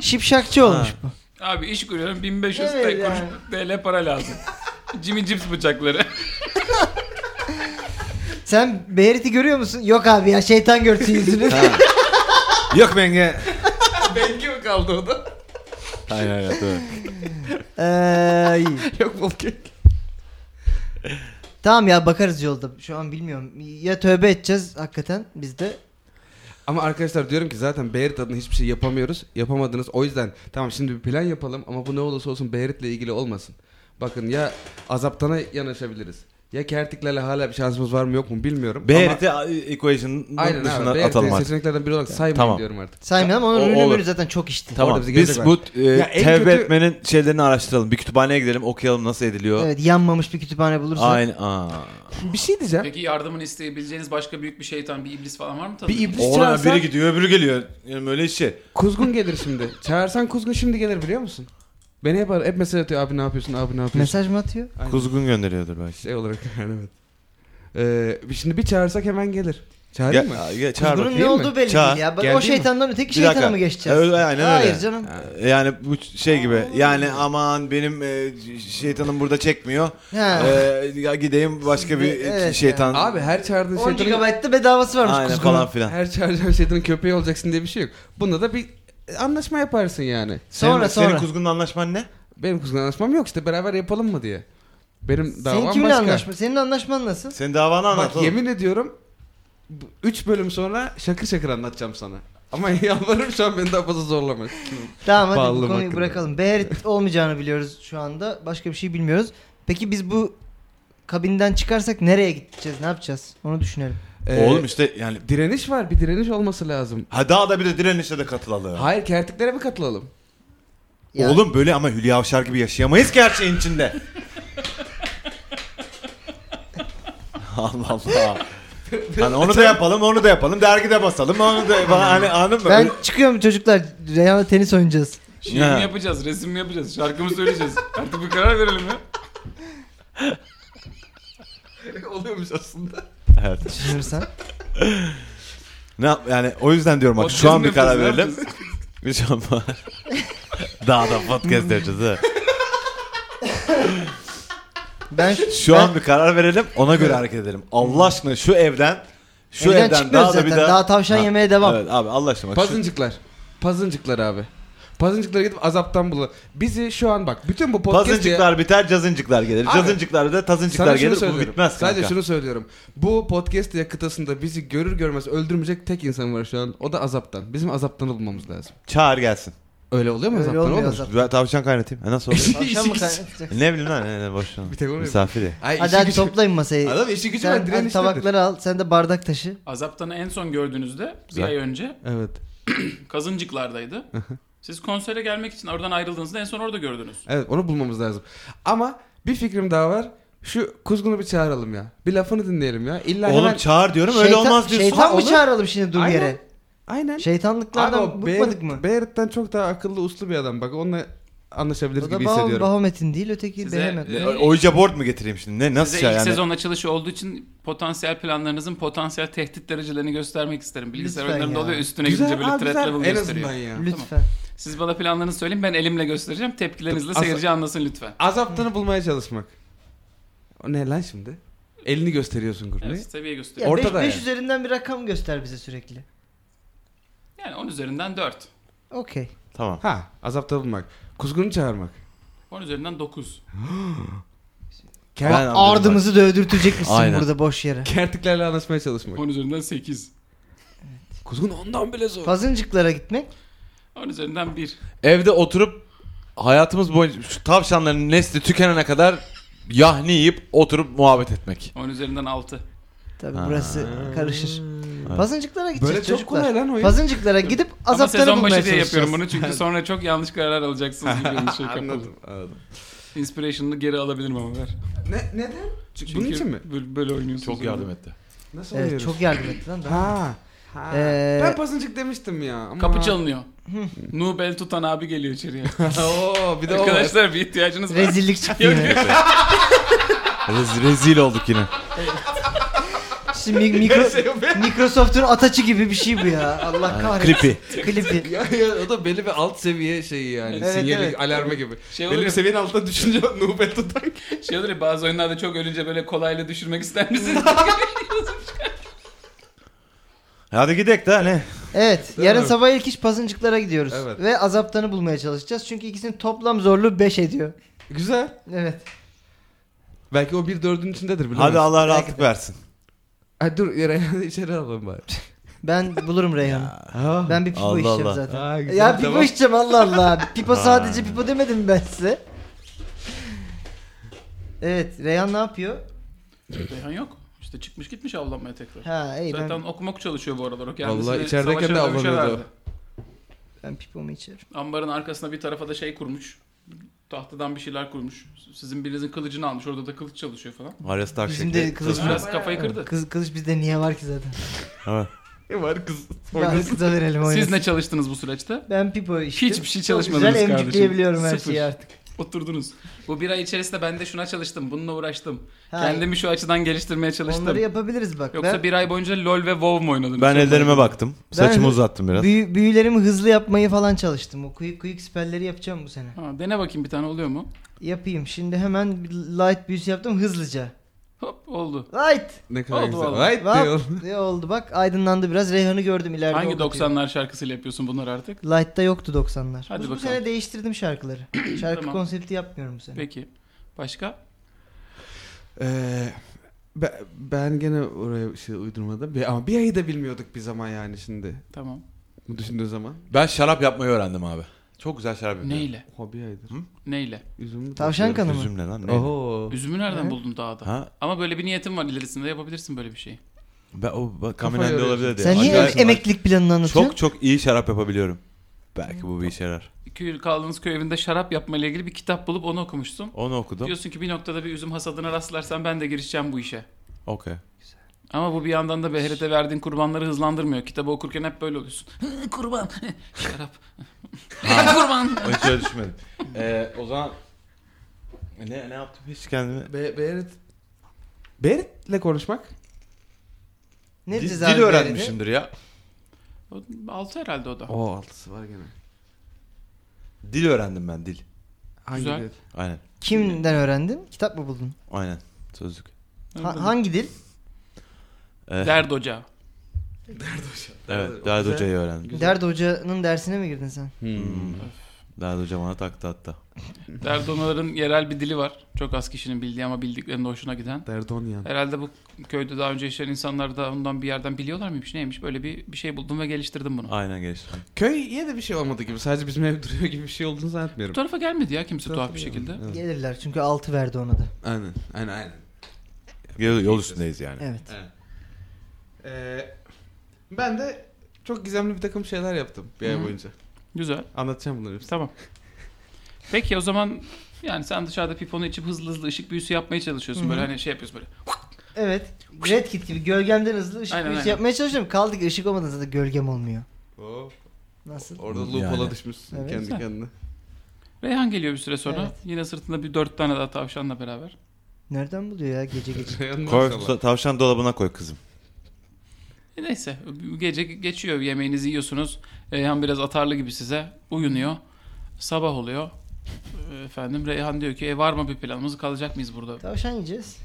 S2: Şipşakçı olmuş
S3: Ha.
S2: bu.
S1: Abi iş kuruyorum 1500
S2: Evet
S1: tek kuruş
S2: yani.
S1: TL para lazım. Jimmy Chips bıçakları.
S2: Sen Beherit'i görüyor musun? Yok abi ya şeytan görsün yüzünü.
S3: Yok menge.
S4: Bengi mi kaldı o da?
S3: Aynen aynen. doğru.
S2: Ee, iyi.
S4: Yok Volkan.
S2: Tamam ya bakarız yolda. Şu an bilmiyorum. Ya tövbe edeceğiz hakikaten biz de.
S4: Ama arkadaşlar diyorum ki zaten Beyrit adına hiçbir şey yapamıyoruz. Yapamadınız. O yüzden tamam şimdi bir plan yapalım ama bu ne olursa olsun Beyrit'le ilgili olmasın. Bakın ya azaptana yanaşabiliriz. Ya Kertiklerle hala bir şansımız var mı yok mu bilmiyorum.
S3: Berit'i e, equation'ın
S4: ama, aynen
S3: dışına
S4: abi.
S3: atalım
S4: Beyrit'i
S3: artık.
S4: seçeneklerden biri olarak saymayın
S3: Tamam.
S4: diyorum artık.
S2: Saymayalım ama
S3: O-
S2: onun ürünü
S3: olur.
S2: mürünü zaten çok işti.
S3: Tamam
S4: Orada bizi
S3: biz
S4: görecek
S3: bu e,
S4: en
S3: tevbe
S4: kötü-
S3: etmenin şeylerini araştıralım. Bir kütüphaneye gidelim okuyalım nasıl ediliyor.
S2: Evet yanmamış bir kütüphane bulursak.
S3: Aynen. Aa.
S4: Bir şey diyeceğim.
S1: Peki yardımını isteyebileceğiniz başka büyük bir şeytan, bir iblis falan var mı
S4: Bir
S1: tanıdığınız?
S4: iblis
S3: Oğlan
S4: çağırsan
S3: biri gidiyor öbürü geliyor. Yani böyle işi.
S4: Kuzgun gelir şimdi. Çağırsan Kuzgun şimdi gelir biliyor musun? Beni hep, ar- hep mesaj atıyor abi ne yapıyorsun abi ne yapıyorsun.
S2: Mesaj mı atıyor?
S4: Aynen.
S3: Kuzgun gönderiyordur belki.
S4: Şey olarak yani evet. Ee, şimdi bir çağırsak hemen gelir. Çağırayım mı?
S3: Ya, ya, çağır
S2: Bunun
S3: bakayım.
S2: ne
S4: mi?
S2: olduğu belli
S3: Çağ.
S2: değil ya. Bak,
S4: Geldi
S2: o
S4: mi?
S2: şeytandan öteki
S3: Bir
S2: şeytana
S3: dakika.
S2: mı şey geçeceğiz?
S3: Öyle, aynen
S2: Hayır
S3: öyle.
S2: canım.
S3: Yani bu şey gibi yani aman benim e, şeytanım burada çekmiyor.
S2: Ha.
S3: E, ya gideyim başka bir
S2: Evet
S3: şeytan.
S4: Abi her çağırdığın
S2: 10
S4: şeytanın-
S2: GB'da bedavası varmış
S3: şey Aynen
S2: kuzgunun.
S3: falan filan.
S4: Her çağıracağın şeytanın köpeği olacaksın diye bir şey yok. Bunda da bir anlaşma yaparsın yani.
S2: Sonra
S3: senin,
S2: sonra.
S3: Senin kuzgunla anlaşman ne?
S4: Benim kuzgunla anlaşmam yok işte beraber yapalım mı diye. Benim davam
S2: Senin kimle
S4: başka.
S2: anlaşma? Senin anlaşman nasıl?
S3: Senin davanı anlat
S4: Bak
S3: oğlum.
S4: yemin ediyorum 3 bölüm sonra şakır şakır anlatacağım sana. Ama yalvarırım şu an beni daha fazla zorlama.
S2: Tamam hadi
S4: Bağlı
S2: bu konuyu
S4: hakkında.
S2: bırakalım. Beherit olmayacağını biliyoruz şu anda. Başka bir şey bilmiyoruz. Peki biz bu kabinden çıkarsak nereye gideceğiz? Ne yapacağız? Onu düşünelim.
S4: Ee,
S3: Oğlum işte yani
S4: Direniş var bir direniş olması lazım.
S3: ha daha da bir de direnişe de katılalım.
S4: Hayır kertiklere mi katılalım?
S2: Yani-
S3: Oğlum böyle ama Hülya Avşar gibi yaşayamayız ki her şeyin içinde. Allah Allah. Hani onu da yapalım, onu da yapalım. Dergide basalım, onu da hani anladın mı?
S2: Ben çıkıyorum çocuklar. Reyhan'la tenis oynayacağız.
S1: Şiir
S3: Ha.
S1: mi yapacağız, resim mi yapacağız, şarkı mı söyleyeceğiz? Artık bir karar verelim ya.
S4: Oluyormuş aslında.
S3: Evet.
S2: Düşünürsen.
S3: Ne yap- yani o yüzden diyorum bak
S1: Podcast
S3: şu an
S1: mi
S3: bir karar
S1: yapacağız, ne
S3: verelim. şey Şu an daha da podcast yapacağız ha.
S2: Ben
S3: Şu an bir karar verelim, ona göre hareket edelim. Allah aşkına şu evden Şu
S2: Evden
S3: evden
S2: çıkmıyoruz
S3: daha da bir
S2: zaten.
S3: daha.
S2: Daha tavşan yemeye devam.
S3: Evet abi Allah aşkına. bak şu-
S4: Pazıncıklar. Pazıncıklar abi. Pazıncıklara gidip azaptan bulun. Bizi şu an bak bütün bu podcast
S3: Pazıncıklar biter, cazıncıklar gelir.
S4: Abi,
S3: Cazıncıklar da tazıncıklar
S4: Sana şunu
S3: gelir. Bu
S4: söylüyorum.
S3: bitmez kanka.
S4: Sadece şunu söylüyorum. Bu podcast diye kıtasında bizi görür görmez öldürmeyecek tek insan var şu an. O da azaptan. Bizim azaptan olmamız lazum.
S3: Çağır gelsin.
S4: Öyle oluyor mu
S2: Öyle
S4: azaptan?
S2: olmuyor
S4: Olmaz.
S2: azap.
S3: Ben tavşan kaynatayım. Ha, nasıl olur?
S2: Tavşan mı kaynatacak?
S3: E, ne bileyim lan. Ne, ne, boş ver.
S4: Bir tek olmuyor.
S3: Misafiri.
S4: Ay, işi
S2: Hadi hadi
S4: gücü-
S2: toplayın masayı.
S4: Adam işi gücü
S2: Sen
S4: ben
S2: hadi
S4: direnişli.
S2: tabakları al. Sen de bardak taşı.
S1: Azaptan'ı en son gördüğünüzde bir
S3: Güzel.
S1: ay önce
S4: Evet.
S1: Kazıncıklar'daydı. Siz konsere gelmek için oradan ayrıldığınızda en son orada gördünüz.
S4: Evet onu bulmamız lazım. Ama bir fikrim daha var. Şu kuzgunu bir çağıralım ya. Bir lafını dinleyelim ya. İlla
S3: Oğlum
S4: hemen...
S3: çağır diyorum öyle
S2: Şeytan-
S3: olmaz diyorsun.
S2: Şeytan mı
S4: Olur.
S2: çağıralım şimdi dur
S4: Aynen.
S2: yere?
S4: Aynen.
S2: Şeytanlıklardan
S4: Abi o
S2: Şey, bıkmadık
S4: Beyrut-
S2: mı?
S4: Beyrit'ten çok daha akıllı uslu bir adam. Bak onunla anlaşabiliriz
S2: O da
S4: gibi
S2: Bah-
S4: hissediyorum.
S2: Bahomet'in değil öteki
S1: Size-
S2: Behemet.
S1: e,
S3: E, Ouija board mu getireyim şimdi? Ne nasıl
S1: Size
S3: şey
S1: ilk
S3: yani?
S1: sezon açılışı olduğu için potansiyel planlarınızın potansiyel tehdit derecelerini göstermek isterim. Bilgisayar
S2: Lütfen
S1: oyunlarında
S2: ya.
S1: oluyor üstüne
S4: Güzel
S1: gidince böyle
S4: abi
S1: threat
S4: güzel.
S1: level
S4: En
S1: gösteriyor.
S4: azından ya.
S2: Lütfen.
S1: Siz bana planlarınızı söyleyin ben elimle göstereceğim. Tepkilerinizle
S4: Aslında-
S1: seyirci anlasın lütfen.
S4: Azaptanı bulmaya çalışmak. O ne lan şimdi? Elini gösteriyorsun Gurme.
S1: Evet, seviye gösteriyor.
S2: Ya
S4: Ortada
S2: 5
S4: yani.
S2: üzerinden bir rakam göster bize sürekli.
S1: Yani 10 üzerinden 4.
S2: Okey.
S3: Tamam.
S4: Ha azapta bulmak. Kuzgunu çağırmak.
S1: 10 üzerinden 9.
S4: Ker-
S3: Ben- anladım
S2: Ardımızı dövdürtecek misin
S3: Aynen.
S2: burada boş yere?
S4: Kertiklerle anlaşmaya çalışmak.
S1: 10 üzerinden 8.
S4: Kuzgun ondan bile zor.
S2: Pazıncıklara gitmek.
S1: 10 üzerinden 1.
S3: Evde oturup hayatımız boyunca şu tavşanların nesli tükenene kadar yahni yiyip oturup muhabbet etmek.
S1: 10 üzerinden 6.
S2: Tabii
S3: Ha.
S2: burası karışır. Pazıncıklara gideceğiz
S4: Böyle çok
S2: çocuklar.
S4: kolay lan oyun.
S2: Pazıncıklara gidip
S1: Ama
S2: azapları
S1: sezon
S2: bulmaya
S1: başı diye
S2: çalışacağız.
S1: yapıyorum bunu çünkü sonra çok yanlış kararlar alacaksınız gibi bir şey kapalı.
S4: Anladım. anladım.
S1: Inspiration'ını geri alabilirim ama ver.
S4: Ne, neden?
S1: Çünkü
S4: Bunun için mi?
S1: Böyle, böyle oynuyorsunuz.
S3: Çok yardım etti.
S4: Nasıl
S2: Evet
S4: oluyoruz?
S2: çok yardım etti lan.
S4: Ha. ha.
S2: Ee,
S4: Ben pasıncık demiştim ya. Ama...
S1: Kapı çalınıyor. Nu bel tutan abi geliyor içeriye.
S4: Oo, bir de o var.
S1: Arkadaşlar bir ihtiyacınız var.
S2: Rezillik çıktı yine.
S3: Rez- rezil olduk yine.
S2: Şimdi mi-
S4: şey
S2: mikro, Microsoft'un ataçı gibi bir şey bu ya. Allah kahretsin.
S3: Creepy.
S2: Klipi.
S4: Ya, ya, o da belli bir alt seviye şeyi yani.
S2: Evet,
S4: Sinyali,
S2: evet.
S4: alarmı gibi.
S1: Şey
S4: belli
S1: oluyor.
S4: bir seviyenin altında düşünce nubet tutan.
S1: Şey olur ya bazı oyunlarda çok ölünce böyle kolayla düşürmek ister misiniz?
S3: Hadi gidelim de ne?
S2: Evet.
S4: Değil
S2: yarın
S4: mi?
S2: sabah ilk iş pazıncıklara gidiyoruz.
S4: Evet.
S2: Ve azaptanı bulmaya çalışacağız. Çünkü ikisinin toplam zorluğu 5 ediyor.
S4: Güzel.
S2: Evet.
S4: Belki o bir dördün içindedir bilemez.
S3: Hadi Allah rahatlık versin.
S4: Ay dur Reyhan'ı içeri alalım bari.
S2: Ben bulurum Reyhan'ı.
S4: Ha.
S2: Ben bir pipo
S3: Allah
S2: içeceğim
S3: Allah.
S2: zaten.
S4: Aa, güzel,
S2: ya pipo
S4: tamam.
S2: içeceğim Allah Allah. Pipo sadece pipo demedim mi ben size. Evet Reyhan ne yapıyor?
S1: Reyhan yok. İşte çıkmış gitmiş avlanmaya tekrar.
S2: Ha iyi ben,
S1: Zaten okumak çalışıyor bu aralar. O kendisini
S4: Vallahi içerideyken
S1: savaşa
S4: de
S1: dövüşe
S4: avlanıyordu.
S1: verdi.
S2: ben pipomu içerim.
S1: Ambarın arkasına bir tarafa da şey kurmuş. Tahtadan bir şeyler kurmuş. Sizin birinizin kılıcını almış. Orada da kılıç çalışıyor falan.
S3: Arya Stark
S2: Bizim
S3: şekli.
S2: de kılıç-
S1: Kız biraz kafayı kırdı.
S2: Kız, kılıç bizde niye var ki zaten?
S3: Evet.
S4: E var kız.
S2: Ben kıza verelim oynasın.
S1: Siz ne çalıştınız bu süreçte?
S2: Ben pipo içtim.
S1: Hiçbir şey
S2: Çok
S1: çalışmadınız
S2: Güzel
S1: kardeşim.
S2: emcikleyebiliyorum her
S1: Sıfır.
S2: şeyi artık.
S1: Oturdunuz. Bu bir ay içerisinde ben de şuna çalıştım. Bununla uğraştım.
S2: Ha,
S1: Kendimi şu açıdan geliştirmeye çalıştım.
S2: Onları yapabiliriz bak.
S1: Yoksa
S2: ben
S1: bir ay boyunca LoL ve WoW mu oynadınız?
S3: Ben
S1: Çok
S3: ellerime
S1: merak
S3: baktım. Saçımı uzattım biraz.
S2: büyü- büyülerimi hızlı yapmayı falan çalıştım. O kuyuk kuyuk spelleri yapacağım bu sene.
S1: ediyorum. Ha, dene bakayım bir tane oluyor mu?
S2: Yapayım. Şimdi hemen bir light büyüsü yaptım hızlıca.
S1: Hop oldu.
S2: Light.
S4: Ne kadar
S1: Oldu
S4: güzel.
S1: vallahi.
S4: Hayt diyor.
S2: Vap, Ne oldu bak aydınlandı biraz. Reyhan'ı gördüm ileride.
S1: Hangi
S2: o bakıyor.
S1: 90'lar şarkısıyla yapıyorsun bunları artık?
S2: Light'ta yoktu 90'lar.
S1: Hadi
S2: bu, bu
S1: bakalım.
S2: sene değiştirdim şarkıları. Şarkı
S1: Tamam.
S2: konsepti yapmıyorum bu sene.
S1: Peki. Başka?
S4: Ee, be- ben gene oraya şey uydurmadım. Bir- Ama bir ayı da bilmiyorduk bir zaman yani şimdi.
S1: Tamam.
S4: Bu düşündüğün zaman.
S3: Ben şarap yapmayı öğrendim abi. Çok güzel şarap yapıyorum.
S1: Neyle?
S4: Oha bir aydır.
S1: Neyle?
S4: Üzümlü.
S2: Tavşan kanı mı?
S3: Üzüm ne lan? Ne?
S4: Oho.
S1: Üzümü nereden
S2: Evet.
S1: buldun dağda?
S3: Ha?
S1: Ama böyle bir niyetim var ilerisinde yapabilirsin böyle bir şey. şeyi.
S3: Ben o bak, kaminen
S4: Kafayı
S3: de
S4: yoruyorsun.
S3: olabilir diye.
S2: Sen niye
S3: Acayip-
S2: em- emeklilik planını anlatıyorsun?
S3: şey Çok çok iyi şarap yapabiliyorum. Belki bu bir işe yarar.
S1: Köy, kaldığınız köy evinde şarap yapma ile ilgili bir kitap bulup onu okumuştum.
S3: Onu okudum.
S1: Diyorsun ki bir noktada bir üzüm hasadına rastlarsan ben de girişeceğim bu işe.
S3: Okey.
S1: Ama bu bir yandan da Behrete verdiğin kurbanları hızlandırmıyor. Kitabı okurken hep böyle oluyorsun. Hı, kurban, şarap, Hı, kurban.
S3: O hiç öyle düşünmedim. Ee, o zaman ne, ne yaptım hiç kendimi?
S4: Be Berit. Berit'le konuşmak.
S2: Ne
S3: dil,
S2: dil,
S3: dil öğrenmişimdir ya.
S1: O, Altı herhalde o da.
S4: Oo altısı var gene.
S3: Dil öğrendim ben dil.
S4: Hangi
S1: Güzel.
S4: Berit?
S3: Aynen.
S2: Kimden öğrendin? Kitap mı buldun?
S3: Aynen. Sözlük.
S2: Ha- hangi dil?
S3: Ee,
S1: Derd ocağı.
S4: Derdi hoca.
S3: Evet, Dert
S4: Hoca-
S3: Hoca'yı öğrendim.
S2: Derd Hoca'nın dersine mi girdin sen?
S4: Hmm.
S3: Dert Hoca bana taktı hatta.
S1: Derdonaların yerel bir dili var. Çok az kişinin bildiği ama bildiklerinde hoşuna giden.
S4: Derdonyan.
S1: Herhalde bu köyde daha önce yaşayan insanlar da ondan bir yerden biliyorlar mıymış neymiş? Böyle bir, bir şey buldum ve geliştirdim bunu.
S3: Aynen geliştirdim.
S4: Köye de bir şey olmadı gibi. Sadece bizim ev duruyor gibi bir şey olduğunu
S1: Bu
S4: zannetmiyorum.
S1: tarafa gelmedi ya kimse tuhaf bir şekilde.
S4: Evet.
S2: Gelirler çünkü 6 verdi ona da.
S4: Aynen. Aynen. Aynen.
S3: Yol, yol üstündeyiz yani.
S2: Evet.
S4: Ee, ben de çok gizemli bir takım şeyler yaptım bir
S1: Hı.
S4: ay boyunca.
S1: Güzel.
S4: Anlatacağım bunları hepsini.
S1: Tamam. Peki o zaman yani sen dışarıda piponu içip hızlı hızlı ışık büyüsü yapmaya çalışıyorsun.
S2: Hı hı.
S1: Böyle hani şey yapıyorsun böyle.
S2: Evet. Red Kit gibi gölgemden hızlı ışık
S1: Aynen,
S2: büyüsü
S1: aynen.
S2: yapmaya çalışıyorum. Kaldı ki ışık olmadan zaten gölgem olmuyor.
S4: Oo,
S2: Nasıl?
S4: Orada
S3: Yani.
S4: loophole'a düşmüşsün
S2: Evet.
S4: kendi
S1: Güzel.
S4: kendine.
S1: Reyhan geliyor bir süre sonra.
S2: Evet.
S1: Yine sırtında bir dört tane daha tavşanla beraber.
S2: Nereden buluyor ya gece gece?
S4: Reyhan
S3: Koy,
S4: maşallah.
S3: ta- tavşan dolabına koy kızım.
S1: E neyse bu gece geçiyor yemeğinizi yiyorsunuz. Reyhan biraz atarlı gibi size. Uyunuyor. Sabah oluyor. E, Efendim Reyhan diyor ki e, var mı bir planımız kalacak mıyız burada?
S2: Tavşan yiyeceğiz.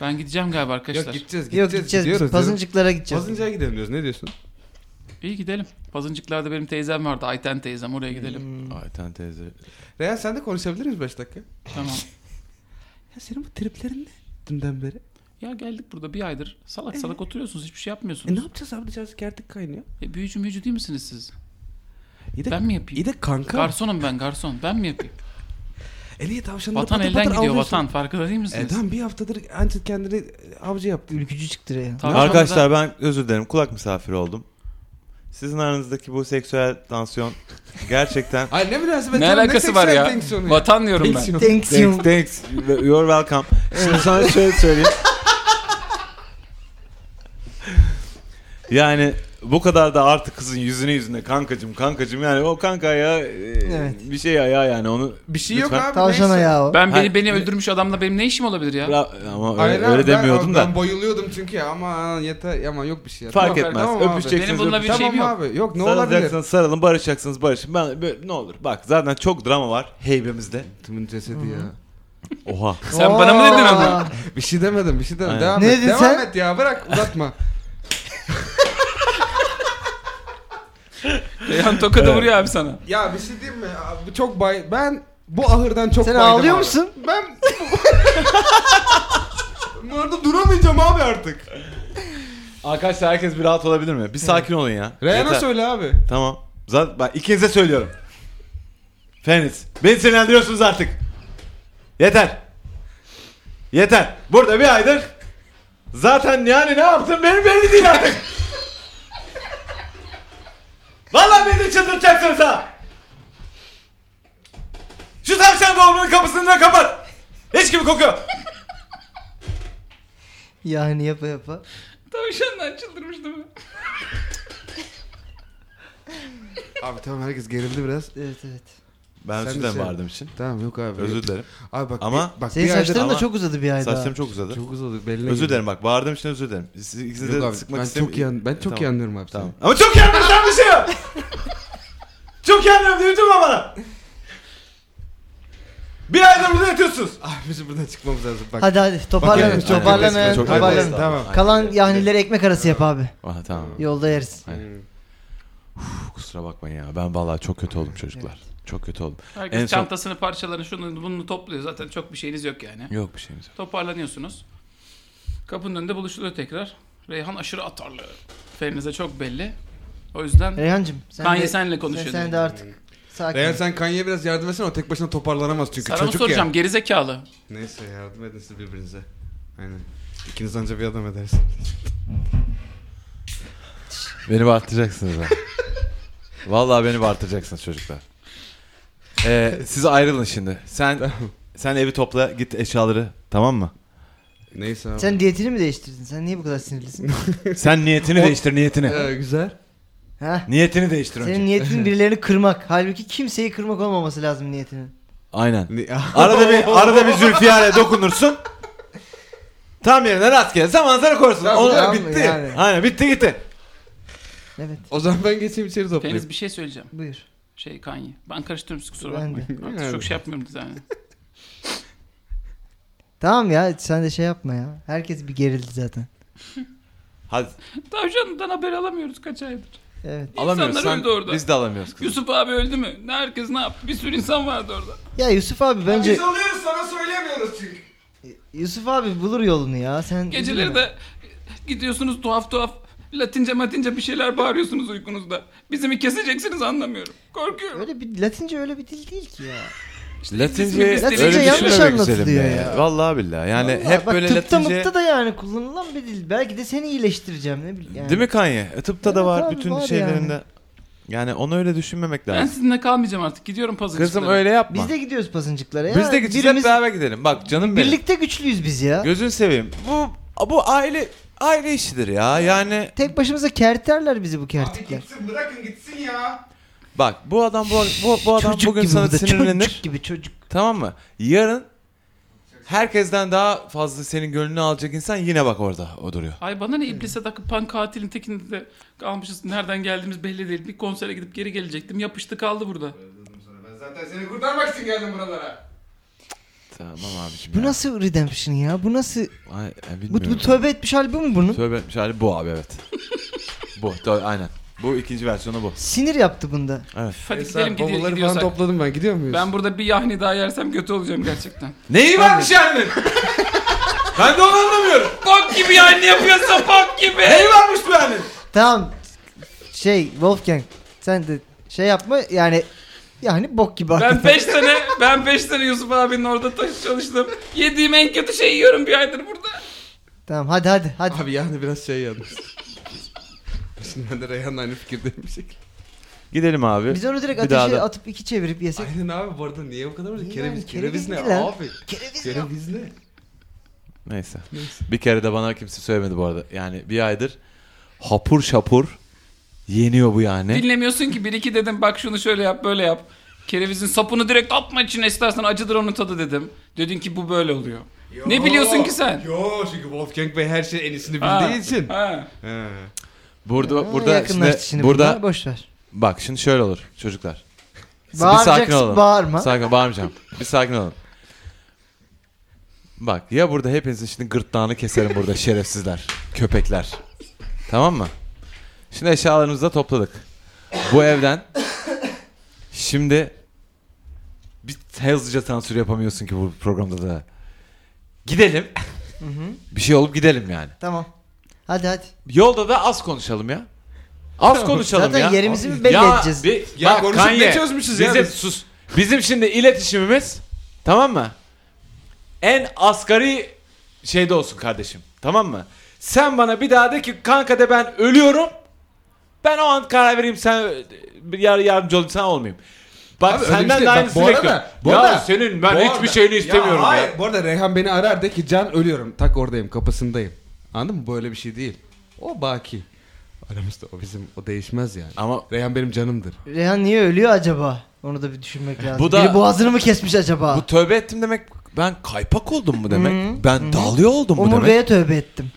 S1: Ben gideceğim galiba
S4: Yok
S1: arkadaşlar.
S4: gideceğiz gideceğiz.
S2: Yok gideceğiz biz.
S4: gidiyoruz.
S2: Pazıncıklara gideceğiz.
S4: Pazıncığa gidelim diyoruz. Ne diyorsun?
S1: İyi gidelim. Pazıncıklarda benim teyzem vardı. Ayten teyzem oraya gidelim.
S2: Hmm.
S3: Ayten teyze.
S4: Reyhan sen de konuşabilir miyiz 5 dakika?
S1: Tamam.
S4: Ya senin bu triplerin ne? Dünden beri.
S1: Ya geldik burada bir aydır salak salak oturuyorsunuz hiçbir şey
S4: E ne
S1: yapmıyorsunuz.
S4: yapacağız abi dışarısı kertik kaynıyor.
S1: E, büyücü müyücü değil misiniz siz?
S4: İyi de,
S1: Ben mi yapayım?
S4: iyi de kanka.
S1: Garsonum ben garson. Ben mi yapayım?
S4: E niye tavşanları
S1: vatan
S4: patır
S1: elden
S4: patır
S1: gidiyor
S4: avlıyorsun?
S1: vatan. Farkında değil
S4: E
S1: misiniz?
S4: tamam bir haftadır anca kendini e, avcı yaptı.
S2: Ülkücü çıktı ya.
S1: Tavşan
S3: Arkadaşlar ben özür dilerim kulak misafiri oldum. Sizin aranızdaki bu seksüel tansiyon gerçekten...
S4: Ay ne münasebet.
S1: Ne
S4: canım,
S1: alakası var
S4: seksüel
S1: ya?
S4: tenksiyonu ya?
S1: Vatan diyorum ben.
S4: Tenksiyon.
S2: Thanks you.
S3: thanks, thanks, you're welcome. Şimdi sana şöyle söyleyeyim. Yani bu kadar da artık kızın yüzüne yüzüne kankacım kankacım yani o kanka ya e,
S2: Evet.
S3: bir şey ayağı yani onu
S4: Bir şey yok
S3: Lütfen.
S4: abi.
S2: Tavşan
S4: neyse.
S2: ayağı o.
S1: Ben beni
S3: Hayır.
S1: beni öldürmüş adamla benim ne işim olabilir ya?
S3: Bra- ama
S4: Hayır
S3: öyle,
S4: abi,
S3: öyle
S4: ben-
S3: demiyordum
S4: ben,
S3: da
S4: bayılıyordum çünkü ya aman yeter aman yok bir şey. ya.
S3: fark
S4: Tamam,
S3: etmez
S4: tamam abi.
S3: öpüşeceksiniz
S1: Benim bununla
S3: öpüşeceksiniz.
S1: bir
S4: tamam
S1: şeyim yok.
S4: abi yok ne olabilir?
S3: Sarılacaksınız sarılın barışacaksınız barışın ben böyle, ne olur bak zaten çok drama var heybemizde
S4: Tümün cesedi ya.
S3: oha
S1: Sen bana mı dedin ama?
S4: Bir şey demedim bir şey demedim.
S3: Aynen.
S4: Devam
S2: Ne
S4: et.
S2: dedin
S4: Devam
S2: sen?
S4: et ya bırak uzatma.
S1: Reyhan tokadı vuruyor abi sana.
S4: ya bir şey diyeyim mi? Abi, çok bay... Ben bu ahırdan çok
S2: Sen
S4: baydım
S2: ağlıyor
S4: abi.
S2: musun?
S4: Ben... Bunlarda duramayacağım abi artık.
S3: arkadaşlar herkes bir rahat olabilir mi bir sakin olun ya
S4: Reyhan'a
S3: Yeter.
S4: söyle abi.
S3: Tamam. Zaten bak ikinize söylüyorum. Feniz. Beni sinirlendiriyorsunuz artık. Yeter. Yeter. Burada bir aydır zaten yani ne yaptın benim belli değil artık. Vallahi beni çıldırtacaksınız ha. Şu tavşan dolabının kapısını da kapat. Hiç gibi kokuyor.
S2: Yani yapa yapa.
S1: Tavşandan çıldırmış değil mi?
S4: Abi tamam herkes gerildi biraz.
S2: Evet evet.
S3: Ben
S4: Sen
S3: özür
S4: de şey-
S3: dilerim
S4: sen-
S3: bağırdığım için.
S4: Tamam yok abi.
S3: Özür dilerim.
S4: Abi bak
S3: Ama-
S4: bir, bak
S2: Senin
S4: bir aydır-
S2: saçların da
S3: ama-
S2: çok uzadı bir ayda.
S3: Saçlarım çok uzadı.
S4: çok uzadı belli.
S3: Özür dilerim bak bağırdığım için özür dilerim. Siz ikinizi
S4: Yok
S3: de
S4: abi
S3: sıkmak
S4: ben
S3: istemiyorum. E,
S4: çok yan ben çok
S3: Tamam.
S4: iyi anlıyorum abi
S3: Tamam.
S4: seni.
S3: Ama çok yandım sen bir şey yok. çok yandım duydun mu bana? Bir ayda burada yatıyorsunuz.
S4: Abi Ah, bizim buradan çıkmamız lazım bak.
S2: Hadi hadi toparlanın
S4: Bakın, çok
S2: toparlanın
S4: yaklaşık,
S3: çok
S2: toparlanın.
S3: yaklaşık.
S4: Tamam.
S2: Kalan yahnilere ekmek arası yap abi.
S3: Aha, Ah, tamam.
S2: Yolda yeriz.
S4: Aynen.
S3: Kusura bakmayın ya. Ben vallahi çok kötü oldum çocuklar. Çok kötü oldum.
S1: Herkes
S3: En son-
S1: çantasını parçalarını şunu bunu topluyor. Zaten çok bir şeyiniz yok yani.
S3: Yok bir şeyimiz yok.
S1: Toparlanıyorsunuz. Kapının önünde buluşuluyor tekrar. Reyhan aşırı atarlı. Ferinize çok belli. O yüzden
S4: E,
S2: Reyhancım sen
S1: Kanye
S2: de,
S1: senle
S2: sen,
S1: konuşuyordun.
S2: sen de artık sakin.
S4: Reyhan sen Kanye'ye biraz yardım etsene o tek başına toparlanamaz çünkü
S1: Sana mı
S4: çocuk
S1: soracağım
S4: ya.
S1: gerizekalı.
S4: Neyse yardım edin siz birbirinize. Aynen. İkiniz anca bir adam edersin.
S3: Beni bağırtacaksınız ha. vallahi beni bağırtacaksınız çocuklar. Ee, siz ayrılın şimdi. Sen sen evi topla git eşyaları tamam mı?
S4: Neyse abi.
S2: Sen diyetini mi değiştirdin? Sen niye bu kadar sinirlisin?
S3: Sen niyetini değiştir niyetini.
S4: Ee, güzel.
S2: ha?
S3: Niyetini değiştir önce.
S2: Senin niyetin birilerini kırmak. Halbuki kimseyi kırmak olmaması lazım niyetinin.
S3: Aynen.
S4: Ne-
S3: Arada bir arada bir Zülfiyar'a dokunursun. Tam yerine rastgele zaman sana koysun.
S4: Tamam,
S3: Onu-
S4: tamam,
S3: bitti.
S2: yani.
S3: Aynen bitti gitti.
S2: Evet.
S4: O zaman ben geçeyim içeri toplayayım.
S1: Feriniz bir şey söyleyeceğim.
S2: Buyur.
S1: Şey Kanye. Ben karıştırıyorum siz kusura
S2: Ben de.
S1: bakmayın. Artık çok şey yapmıyorum zaten.
S2: Tamam ya sen de şey yapma ya. Herkes bir gerildi zaten.
S3: Hadi
S1: Tavşanından haber alamıyoruz kaç aydır.
S2: Evet.
S3: alamıyoruz.
S1: İnsanlar
S3: Sen,
S1: öldü orada.
S3: Biz de alamıyoruz kızım.
S1: Yusuf abi öldü mü? Ne herkes ne yaptı? Bir sürü insan vardı orada.
S2: Ya Yusuf abi bence
S5: Biz alıyoruz sana söylemiyoruz çünkü.
S2: Yusuf abi bulur yolunu ya. Sen
S1: Geceleri de gidiyorsunuz tuhaf tuhaf Latince matince bir şeyler bağırıyorsunuz uykunuzda. Bizi mi keseceksiniz anlamıyorum. Korkuyorum.
S2: Öyle bir Latince öyle bir dil değil ki ya.
S1: İşte
S3: Latince, şey
S1: biz- biz
S2: Latince
S1: öyle
S2: yanlış
S1: düşünüyoruz.
S3: düşünmemek
S2: anlatılıyor
S3: güzelim be
S2: ya.
S3: Vallahi billahi. Yani
S2: Vallahi
S3: hep
S2: bak
S3: böyle
S2: tıpta
S3: Latince.
S2: mıpta da yani kullanılan bir dil. Belki de seni iyileştireceğim ne bileyim. Yani.
S3: Değil mi Kanye? E, tıpta da
S2: Evet
S3: var
S2: abi,
S3: bütün
S2: var
S3: şeylerinde. Yani. onu öyle düşünmemek
S1: Ben
S3: lazım.
S1: sizinle kalmayacağım artık. Gidiyorum puzzle
S3: Kızım öyle yapma.
S2: Biz de gidiyoruz pasıncıklara ya.
S3: Biz de gideceğiz hep
S2: Birimiz-
S3: beraber gidelim. Bak canım benim.
S2: Birlikte güçlüyüz biz ya.
S3: Gözün seveyim. Bu bu aile aile işidir ya. Yani
S2: Tek başımıza kerterler bizi bu
S5: Abi
S2: kertikler.
S5: gitsin bırakın gitsin ya.
S3: bak bu adam bu bu, bu adam
S2: çocuk
S3: bugün
S2: gibi
S3: sana
S2: burada,
S3: sinirlenir.
S2: Çocuk gibi çocuk.
S3: Tamam mı? Yarın herkesten daha fazla senin gönlünü alacak insan yine bak orada o duruyor.
S1: Ay bana ne iblise takıp pan katilin tekinde de kalmışız. Nereden geldiğimiz belli değil. Bir konsere gidip geri gelecektim. Yapıştı kaldı burada.
S5: Ben zaten seni kurtarmak için geldim buralara.
S3: Tamam abiciğim.
S2: Bu
S3: ya.
S2: nasıl redemption ya? Bu nasıl?
S3: Ay, e,
S2: Bu,
S3: bilmiyorum.
S2: bu tövbe etmiş hali bu mu bunun?
S3: Tövbe etmiş hali bu abi evet. bu tövbe, aynen. Bu ikinci versiyonu bu.
S2: Sinir yaptı bunda.
S1: Hadi
S4: Esra,
S1: gidelim gidi-
S4: bavulları
S1: gidiyorsak.
S4: falan topladım ben. Gidiyor muyuz?
S1: Ben burada bir yahni daha yersem kötü olacağım gerçekten.
S3: Neyi varmış
S4: şey
S3: annenin? ben de onu anlamıyorum.
S1: Bok gibi yahni yapıyorsa bok gibi.
S3: Neyi varmış bu annenin?
S2: Tamam. Şey Wolfgang sen de şey yapma yani yani bok gibi
S1: Ben
S2: hakikaten.
S1: 5 sene ben 5 sene Yusuf abinin orada taş çalıştım. Yediğim en kötü şeyi yiyorum bir aydır burada.
S2: Tamam hadi hadi hadi.
S4: Abi yani biraz şey yalnız. Şimdi ben de Reyhan'la aynı fikirdeyim bir şekilde.
S3: Gidelim abi.
S2: Biz onu direkt
S3: Bir daha
S2: ateşe
S3: da-
S2: atıp iki çevirip yesek.
S4: Aynen abi bu arada niye bu kadar ucuz?
S2: Yani
S4: Kereviz,
S2: kereviz
S4: kereviz ne
S2: değil lan.
S4: abi?
S2: Kereviz yok.
S4: Kereviz ne?
S3: Neyse. Bir kere de bana kimse söylemedi bu arada. Yani bir aydır hapur şapur yeniyor bu yani.
S1: Dinlemiyorsun ki bir iki dedim bak şunu şöyle yap böyle yap. Kerevizin sapını direkt atma içine istersen acıdır onun tadı dedim. Dedin ki bu böyle oluyor. Ne biliyorsun ki sen?
S4: Yo çünkü Wolfgang Bey her şeyin en iyisini bildiği
S1: Ha,
S4: için.
S1: ha.
S4: He.
S3: Burada
S2: Aa,
S3: burada
S2: yakınlaştı
S3: şimdi,
S2: şimdi
S3: burada
S2: bunlar, boş ver.
S3: bak şimdi şöyle olur çocuklar. Bir sakin
S2: Bağıracaksın,
S3: olun.
S2: bağırma.
S3: Sakin bağırmayacağım. Bir sakin olun. Bak ya burada hepinizin şimdi gırtlağını keserim burada şerefsizler. Köpekler. Tamam mı? Şimdi eşyalarımızı da topladık. Bu evden şimdi bir hızlıca sansür yapamıyorsun ki bu programda da. Gidelim. bir şey olup gidelim yani.
S2: Tamam. Hadi hadi.
S3: Yolda da az konuşalım ya. Az konuşalım
S2: Zaten
S3: ya.
S2: yerimizi mi belli edeceğiz?
S3: bir-
S4: Ya
S3: bak,
S4: konuşup
S3: Kanye,
S4: ne çözmüşüz ya
S3: bizim,
S4: biz?
S3: Sus. Bizim şimdi iletişimimiz tamam mı? En asgari şeyde olsun kardeşim. Tamam mı? Sen bana bir daha de ki kanka de ben ölüyorum. Ben o an karar vereyim sen bir yar yardımcı olayım sen olmayayım. Bak
S4: Abi öyle bir
S3: senden
S4: şey-
S3: de
S4: bak,
S3: aynısını
S4: bu arada-
S3: bekliyorum.
S4: bu
S3: ya
S4: arada-
S3: senin ben
S4: bu
S3: hiçbir
S4: arada-
S3: şeyini istemiyorum ya.
S4: hayır, Bu arada Reyhan beni arar de ki Can ölüyorum. Tak oradayım kapısındayım. Anladın mı? Böyle bir şey değil. O baki. Aramızda o bizim o değişmez yani.
S3: Ama
S4: Reyhan benim canımdır.
S2: Reyhan niye ölüyor acaba? Onu da bir düşünmek lazım.
S3: Bu da-
S2: Biri boğazını mı kesmiş acaba?
S3: bu tövbe ettim demek ben kaypak oldum mu demek? ben dağılıyor oldum mu demek?
S2: Omurgaya tövbe ettim.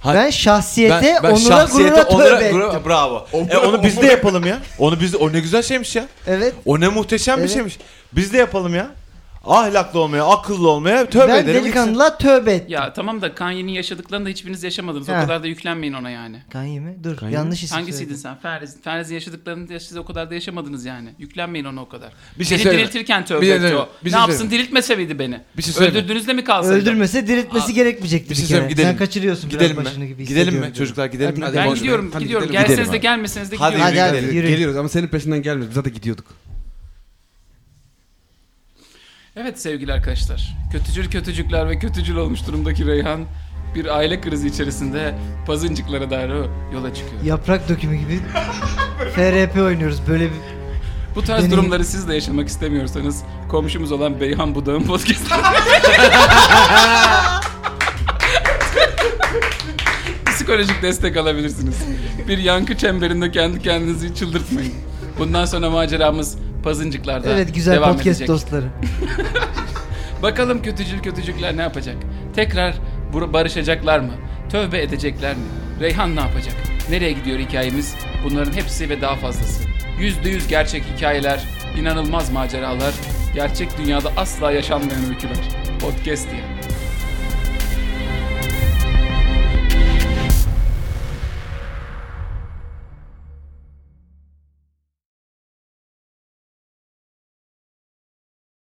S3: Ha-
S2: ben şahsiyete, onura,
S3: şahsiyete,
S2: gurura tövbe
S3: onura,
S2: ettim.
S3: gurura- bravo.
S4: Onura,
S3: E, onu biz de
S4: onura.
S3: yapalım ya. Onu biz de, o ne güzel şeymiş ya.
S2: Evet.
S3: O ne muhteşem
S2: Evet.
S3: bir şeymiş. Biz de yapalım ya. Ahlaklı olmaya, akıllı olmaya tövbe
S2: ben
S3: edelim. gitsin.
S2: delikanlılığa tövbe ettim.
S1: Ya tamam da Kanye'nin yaşadıklarını da hiçbiriniz yaşamadınız.
S2: Ha.
S1: O kadar da yüklenmeyin ona yani.
S2: Kanye mi? Dur
S3: Kanye
S2: yanlış isim
S1: Hangisiydin
S2: söyledim.
S1: sen? Feriz. Feriz'in yaşadıklarını da siz o kadar da yaşamadınız yani. Yüklenmeyin ona o kadar.
S3: Bir şey
S1: beni
S3: söyleme.
S1: diriltirken
S4: Bir
S1: tövbe
S4: şey
S1: etti
S4: söyleme.
S1: o.
S4: Bir
S1: ne
S4: şey
S1: yapsın
S4: söyleme.
S1: diriltmese miydi beni?
S3: Bir şey söyleme.
S1: Öldürdüğünüzde mi kalsaydı?
S2: Öldürmese diriltmesi
S1: Aa,
S2: gerekmeyecekti
S3: Bir
S2: bir,
S3: şey
S2: kere.
S3: söyleyeyim gidelim.
S2: Sen kaçırıyorsun
S3: Gidelim
S2: biraz başını
S3: mi?
S2: gibi
S3: Gidelim mi
S2: hissediyorum.
S3: çocuklar gidelim mi?
S4: Hadi
S1: Ben
S4: Boş ver.
S1: gidiyorum,
S4: Hadi
S1: gidiyorum.
S4: gidelim.
S1: Gelseniz de
S3: Gidelim.
S1: gelmeseniz de
S3: Hadi
S1: gidiyorum.
S2: Hadi hadi
S3: Gidelim.
S2: yürü.
S4: Geliyoruz ama senin peşinden gelmiyoruz. Biz zaten gidiyorduk.
S1: Evet sevgili arkadaşlar. Kötücül kötücükler ve kötücül olmuş durumdaki Reyhan bir aile krizi içerisinde pazıncıklara doğru yola çıkıyor.
S2: Yaprak dökümü gibi FRP oynuyoruz böyle bir.
S1: Bu tarz
S2: Benim-
S1: durumları siz de yaşamak istemiyorsanız komşumuz olan Beyhan Budağ'ın podcast'ı. Psikolojik destek alabilirsiniz. Bir yankı çemberinde kendi kendinizi çıldırtmayın. Bundan sonra maceramız pazıncıklarda
S2: Evet güzel
S1: devam
S2: podcast
S1: edecek.
S2: dostları.
S1: Bakalım kötücül kötücükler ne yapacak? Tekrar bur- barışacaklar mı? Tövbe edecekler mi? Reyhan ne yapacak? Nereye gidiyor hikayemiz? Bunların hepsi ve daha fazlası. Yüzde yüz gerçek hikayeler, inanılmaz maceralar, gerçek dünyada asla yaşanmayan öyküler. Podcast diye.